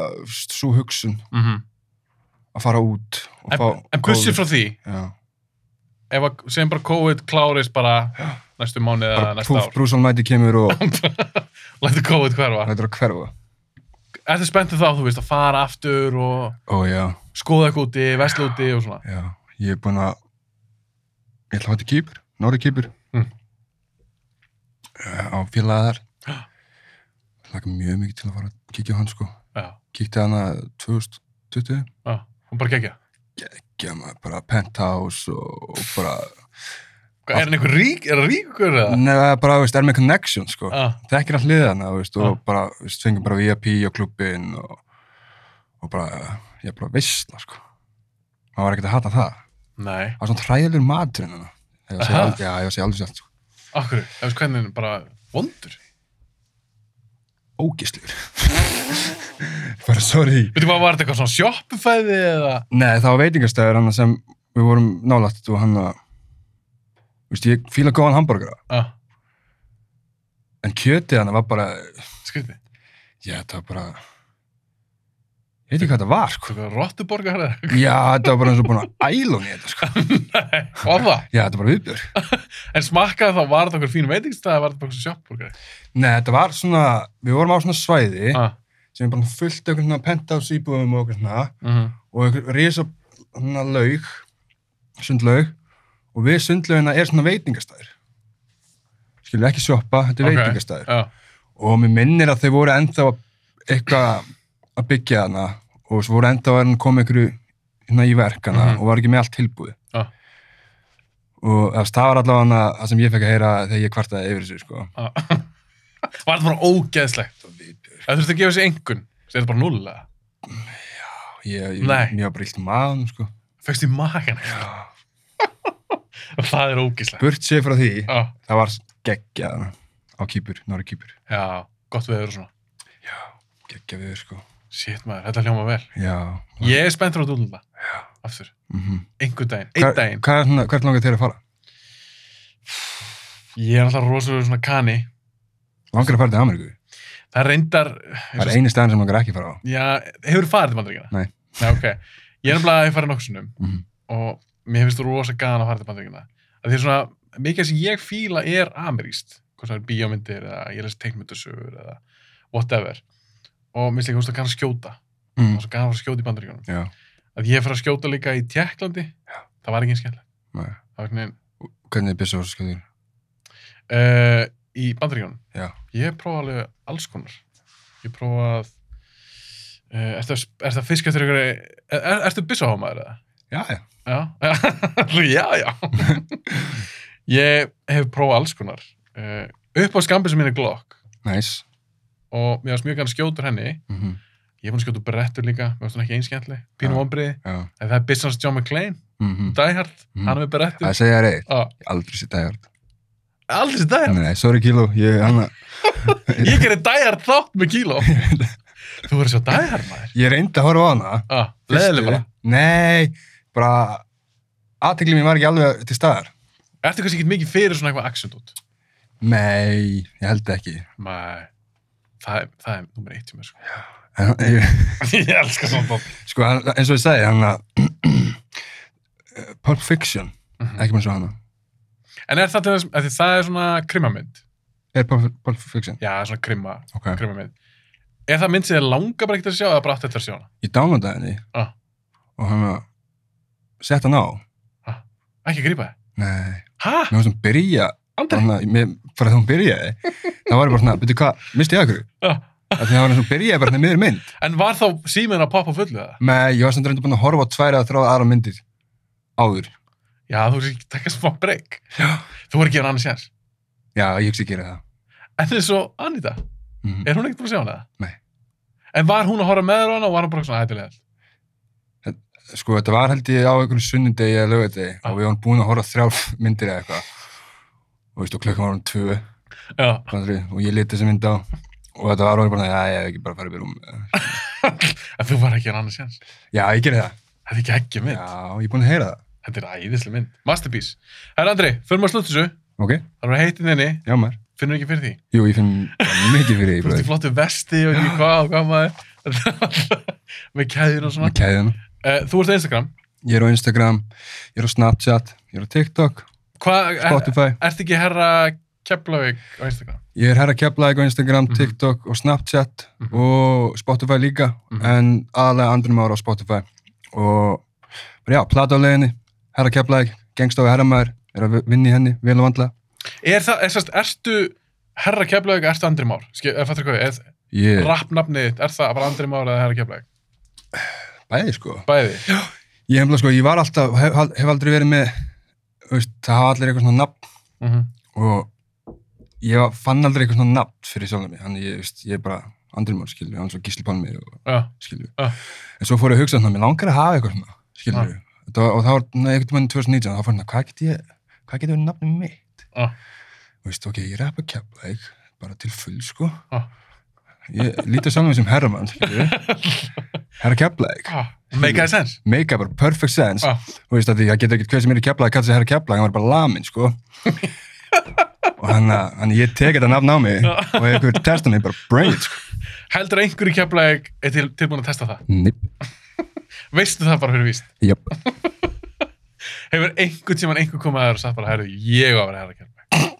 svo hugsun
Mm
að fara út og
En,
fá...
en bussið frá því,
Já,
ef að, segjum bara COVID klárist bara næstu mánu eða
bara
næsta
púf,
ár.
brúsan mæti kemur og
Lættu COVID hverfa.
hættur að hverfa.
Er þið spenntið þá, þú veist, að fara aftur og
Ó, já,
skoða eitthvað úti, vesla úti og svona.
já, ég er búinn að... Ég ætla að hætti kýpur, Nóri kýpur.
Mm.
Á félaga þar. Ég laka mjög mikið til að fara að kíkja á hann, sko.
Já,
Kíkti hann að 2020.
já, og bara gegja.
Gjama, bara penthouse og, og bara...
Hvað, Er hann einhver rík, er hann ríkur eða? Ah,
Nei, það er bara, veist, er með connection, sko.
Já,
Þekkir all liðana, veist, og
Já.
bara, veist, fengum bara VIP á klubbin og, og bara, ég bara veistla, sko. Maður var ekkert að hata það.
nei,
Það var svona hræðilegur maturinn hana. Ég var að segja
Aha.
aldrei, já, ég var að segja aldrei sér allt, sko.
okkur, ef veist hvernig bara vondur.
Ógislegur. bara, sorry.
Veitu hvað, var þetta eitthvað svona sjoppufæði eða?
Nei, það var veitingastæður hann sem við vorum nálægt og hann að, veist, ég fíla góðan hambúrgara,
Já,
en kjötið hann var bara,
skriði.
já, það var bara, ég veit ekki hvað það var, sko.
Hvað, eitthvað rottuborgar eða?
Já, þetta var bara eins og búin að ælun í þetta, sko.
Nei, var það?
Já, þetta var viðbjör.
En smakkaði þá, var þetta okkur fín veitingstæði, var þetta bara eitthvað sjoppborgar?
Nei, þetta var svona, við vorum á svona svæði
Já,
sem er bara fullt af einhvern svona penthouse íbúðum og okkur svona
mhm,
og einhver risa svona laug, sundlaug og við sundlaugina er svona veitingastæður. Skilju ekki sjoppa, þetta er
Ok.
veitingastæður.
já.
Og mér minnir að þeir voru ennþá að- eitthvað að byggja hana og svo voru ennþá að koma einhverju hérna í verk hana
Mhm. Ah.
og var ekki með allt tilbúið.
Já.
Og þú veist, það var allavega það sem ég fekk að heyra þegar ég kvartaði yfir þessu, sko.
Ah. var þetta bara ógeðslegt
Þetta var viðbjör.
Það þurfti að gefa sér engun Það er bara null eða?
Ég, ég,
Nei.
ég var bara illt maðan, sko.
Fegst í magan Það er ógeðslegt
Burt séð frá því,
ah,
það var geggjað hana á kýpur, norri kýpur.
Já, gott veður og svona
Já, geggjað við, sko.
Shit maður, þetta hljóma vel
Já.
Ég er spenntur á dúlunda
Já.
Aftur,
Mm
einhver daginn, einn daginn
Hvað er svona, hvert langar þér að fara?
Ég er alltaf rosalega svona kani
Langar að fara til Ameríku?
Það reyndar
Það er eini staðan sem langar ekki að fara á.
Já, hefur farið til Bandaríkina?
Nei.
Nei, ok Ég er nefnilega að ég farið nokkuð sinnum
Mhm.
og mér finnst þú rosalega gaman að fara til Bandaríkina að því er svona, mikið sem ég fíla er ameríst, hvort það er bíómyndir eða ég les teikmyndasögur eða whatever og mér finnst líka úrst að kannski skjóta
Mm.
og svo gaman að fara að skjóta í Bandaríkjunum
Já.
að ég fyrir að skjóta líka í Tjekklandi það var ekki eins skemmtilegt
Nei.
Það var einhvern veginn,
Hvernig er byrsa orðskjöður?
uh, í Bandaríkjunum
Já.
ég prófa alveg alls konar ég prófa að uh, ertu, að- ertu að fiska eftir ykkur er, er, ertu byssuhámaður eða?
Já, já.
Já, já, já. ég hef prófað alls konar. Eh, Uh, upp á skambið sem minn er Glock
Næs.
og mér varst mjög gæmst skjótur henni
Mm -hmm.
Ég er búin að skjóta úr brettur líka, mér finnst hann ekki einskjæntli. Pínu
Já.
vonbriði.
já.
En það er business John McClane,
mhm.
Die Hard,
Mhm.
hann er með brettur.
Það segja þér eitt,
Á,
aldrei sér dægjart.
Ah, aldrei þessi Die Hard.
Nei, sorry Kíló, ég, hérna- hana,
Ég gerir Die Hard þátt með kíló. Þú verður svo Die Hard, maður.
ég reyndi að horfa á hana.
Á, leðileg bara.
Nei, bara aðtekli mér var ekki alveg til staðar.
Ertu kannski ekki mikið fyrir svona eitthvað action út?
Nei, ég held ekki.
Nei. Það er, það er nummer eitt hjá mér, sko.
En, ég,
Ég elskar svona dót.
sko, hann- eins og ég segi, hann að Pulp Fiction, ekki með svo hana.
En er það til þess, af því það er svona krimmamynd.
Er Pulp, Pulp Fiction?
Já, það er svona krimma,
Ok.
krimmamynd. Er það mynd sem þið langar bara ekkert að sjá eða bara átt eftir að sjá hana?
Ég downloadaði henni
Ah.
og hann að sett hann á.
Ekki að grípa þið.
Nei,
Hæ?
mér var svona byrja,
Andri?
hann að, mér- bara þegar hún byrjaði, það var ég bara svona, betur hvað, misti ég að hverju?
Ah.
Af því Það var hann svona byrjaði bara með mynd.
En var þá síminn að poppa á fullu það?
Nei, ég var samt reyndur búin að horfa á tværi að þráða aðra myndir áður.
Já, þú veist ekki taka smá breyk. Já. Þú voru ekki hann annars sér.
Já, ég hugsi að gera það.
En eins og Anita,
Mm.
er hún ekkert búin að sjá hana það?
Nei.
En var hún að horfa með þér á hana og var hún bara svona hættilega?
Sko, þetta var held ég á einhvern sunnundegi eða lögadegi
Ah.
og við varum búin að horfa á þrjálf myndir eða eitthvað. Og veistu, klukkan var um tvö,
Já.
kvandri, og ég liti þessi mynd á. Og þetta var alveg bara, já, ég hef ekki bara farið upp í rúm.
En þú var ekki hann annars sér.
Já, ég gerði það.
Þetta er ekki ekki mynd.
Já, ég er búin að heyra það.
Þetta er æðislega mynd. Masterpiece. Herra Andri, förum að slutta þessu.
Ok,
Það var heitin inni.
já maður.
Finnum ekki fyrir því.
Jú, ég finn mikið fyrir því,
Þú ert í
bróðir.
flottu vesti og ekki hvað og hvað maður. Með kæðir og svona.
Með kæðina.
Eh, Þú ert á Instagram.
Ég er á Instagram, ég er á Snapchat, ég er á TikTok,
Hvað, er,
Spotify.
ert ekki herra Keflavík á Instagram?
Ég er herra Keflæk á Instagram,
Mhm.
TikTok og Snapchat
Mhm.
og Spotify líka
Mhm.
en aðalega andrum ára á Spotify og bara já, plata á leiðinni herra Keflæk, gengstofi herramæður er að vinna í henni, vel og vandla
Er það, er, sérst, ertu herra Keflavík, ertu Andri Már? Skil, er, fattur hvað, er,
ég er
rappnafnið þitt, er það bara Andri Már eða herra Keflavík?
bæði sko
Bæði.
ég, hefla, sko, ég var alltaf, hef, hef aldrei verið með þú veist, það hafa allir eitthvað svona nafn
Mm -hmm.
og ég var- fann aldrei eitthvað svona nafn fyrir sjálfum mig, þannig ég, þú veist, ég er bara andrumár skilju, hann svo gísli pálmi og
Já.
skilju.
Já.
En svo fór ég að hugsa þannig, mér langar að hafa eitthvað svona, skilju.
Já.
Þetta var, og það var na, einhvern veginn 2019, þá fór hérna, hvað get ég, hvað getur verið nafnum mitt?
Já.
Og veist, ok, ég rappa Keflæk, bara til full, sko.
Já.
Ég lítið sjálfum mig sem herramann, skilju. Herra Keflæk.
Ah, make a sense.
Make bara perfect sense.
Já.
Þú veist, af því, það getur ekkert hver sem er í Keflæk, kallar sig herra Keflæk, hann var bara lamin, sko. og hann, að- hann, ég tek þetta nafn á mig
Já.
og einhver testa mig bara brain, sko.
Heldur einhver í Keflavík er til, tilbúin að testa það?
Nip,
Veistu það bara fyrir víst?
jöp.
Hefur einhvern tíman einhver komað að þér og sagt bara, herru, ég á að vera herra kjálpa.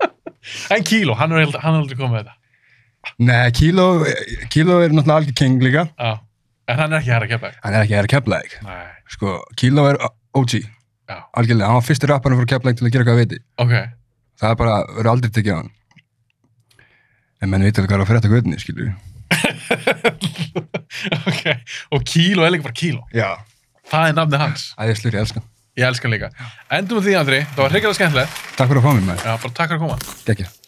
en Kíló, hann er held- hann er aldrei komið með þetta.
Nei, Kíló, Kíló er náttúrulega algjör king líka.
Já. En hann er ekki herra kjálpa.
Hann er ekki að er keflæk.
Nei.
Sko, Kíló er OG,
Já.
algjörlega. Hann var fyrsti rapparinn frá keflæk til að gera eitthvað að viti.
Ok.
Það er bara, verður aldrei tekið á hann. En menn veit alveg hvað er að frétta göðinni, skilju.
ok. Og Kíló er líka bara Kíló.
Já.
Það er nafnið hans.
Æðislur, ég elskan.
Ég elska hann líka. Endum við því, Andri. Það var hrikalega skemmtilegt.
Takk fyrir að fá mig, maður.
Já, bara takk fyrir að koma.
Gekkja.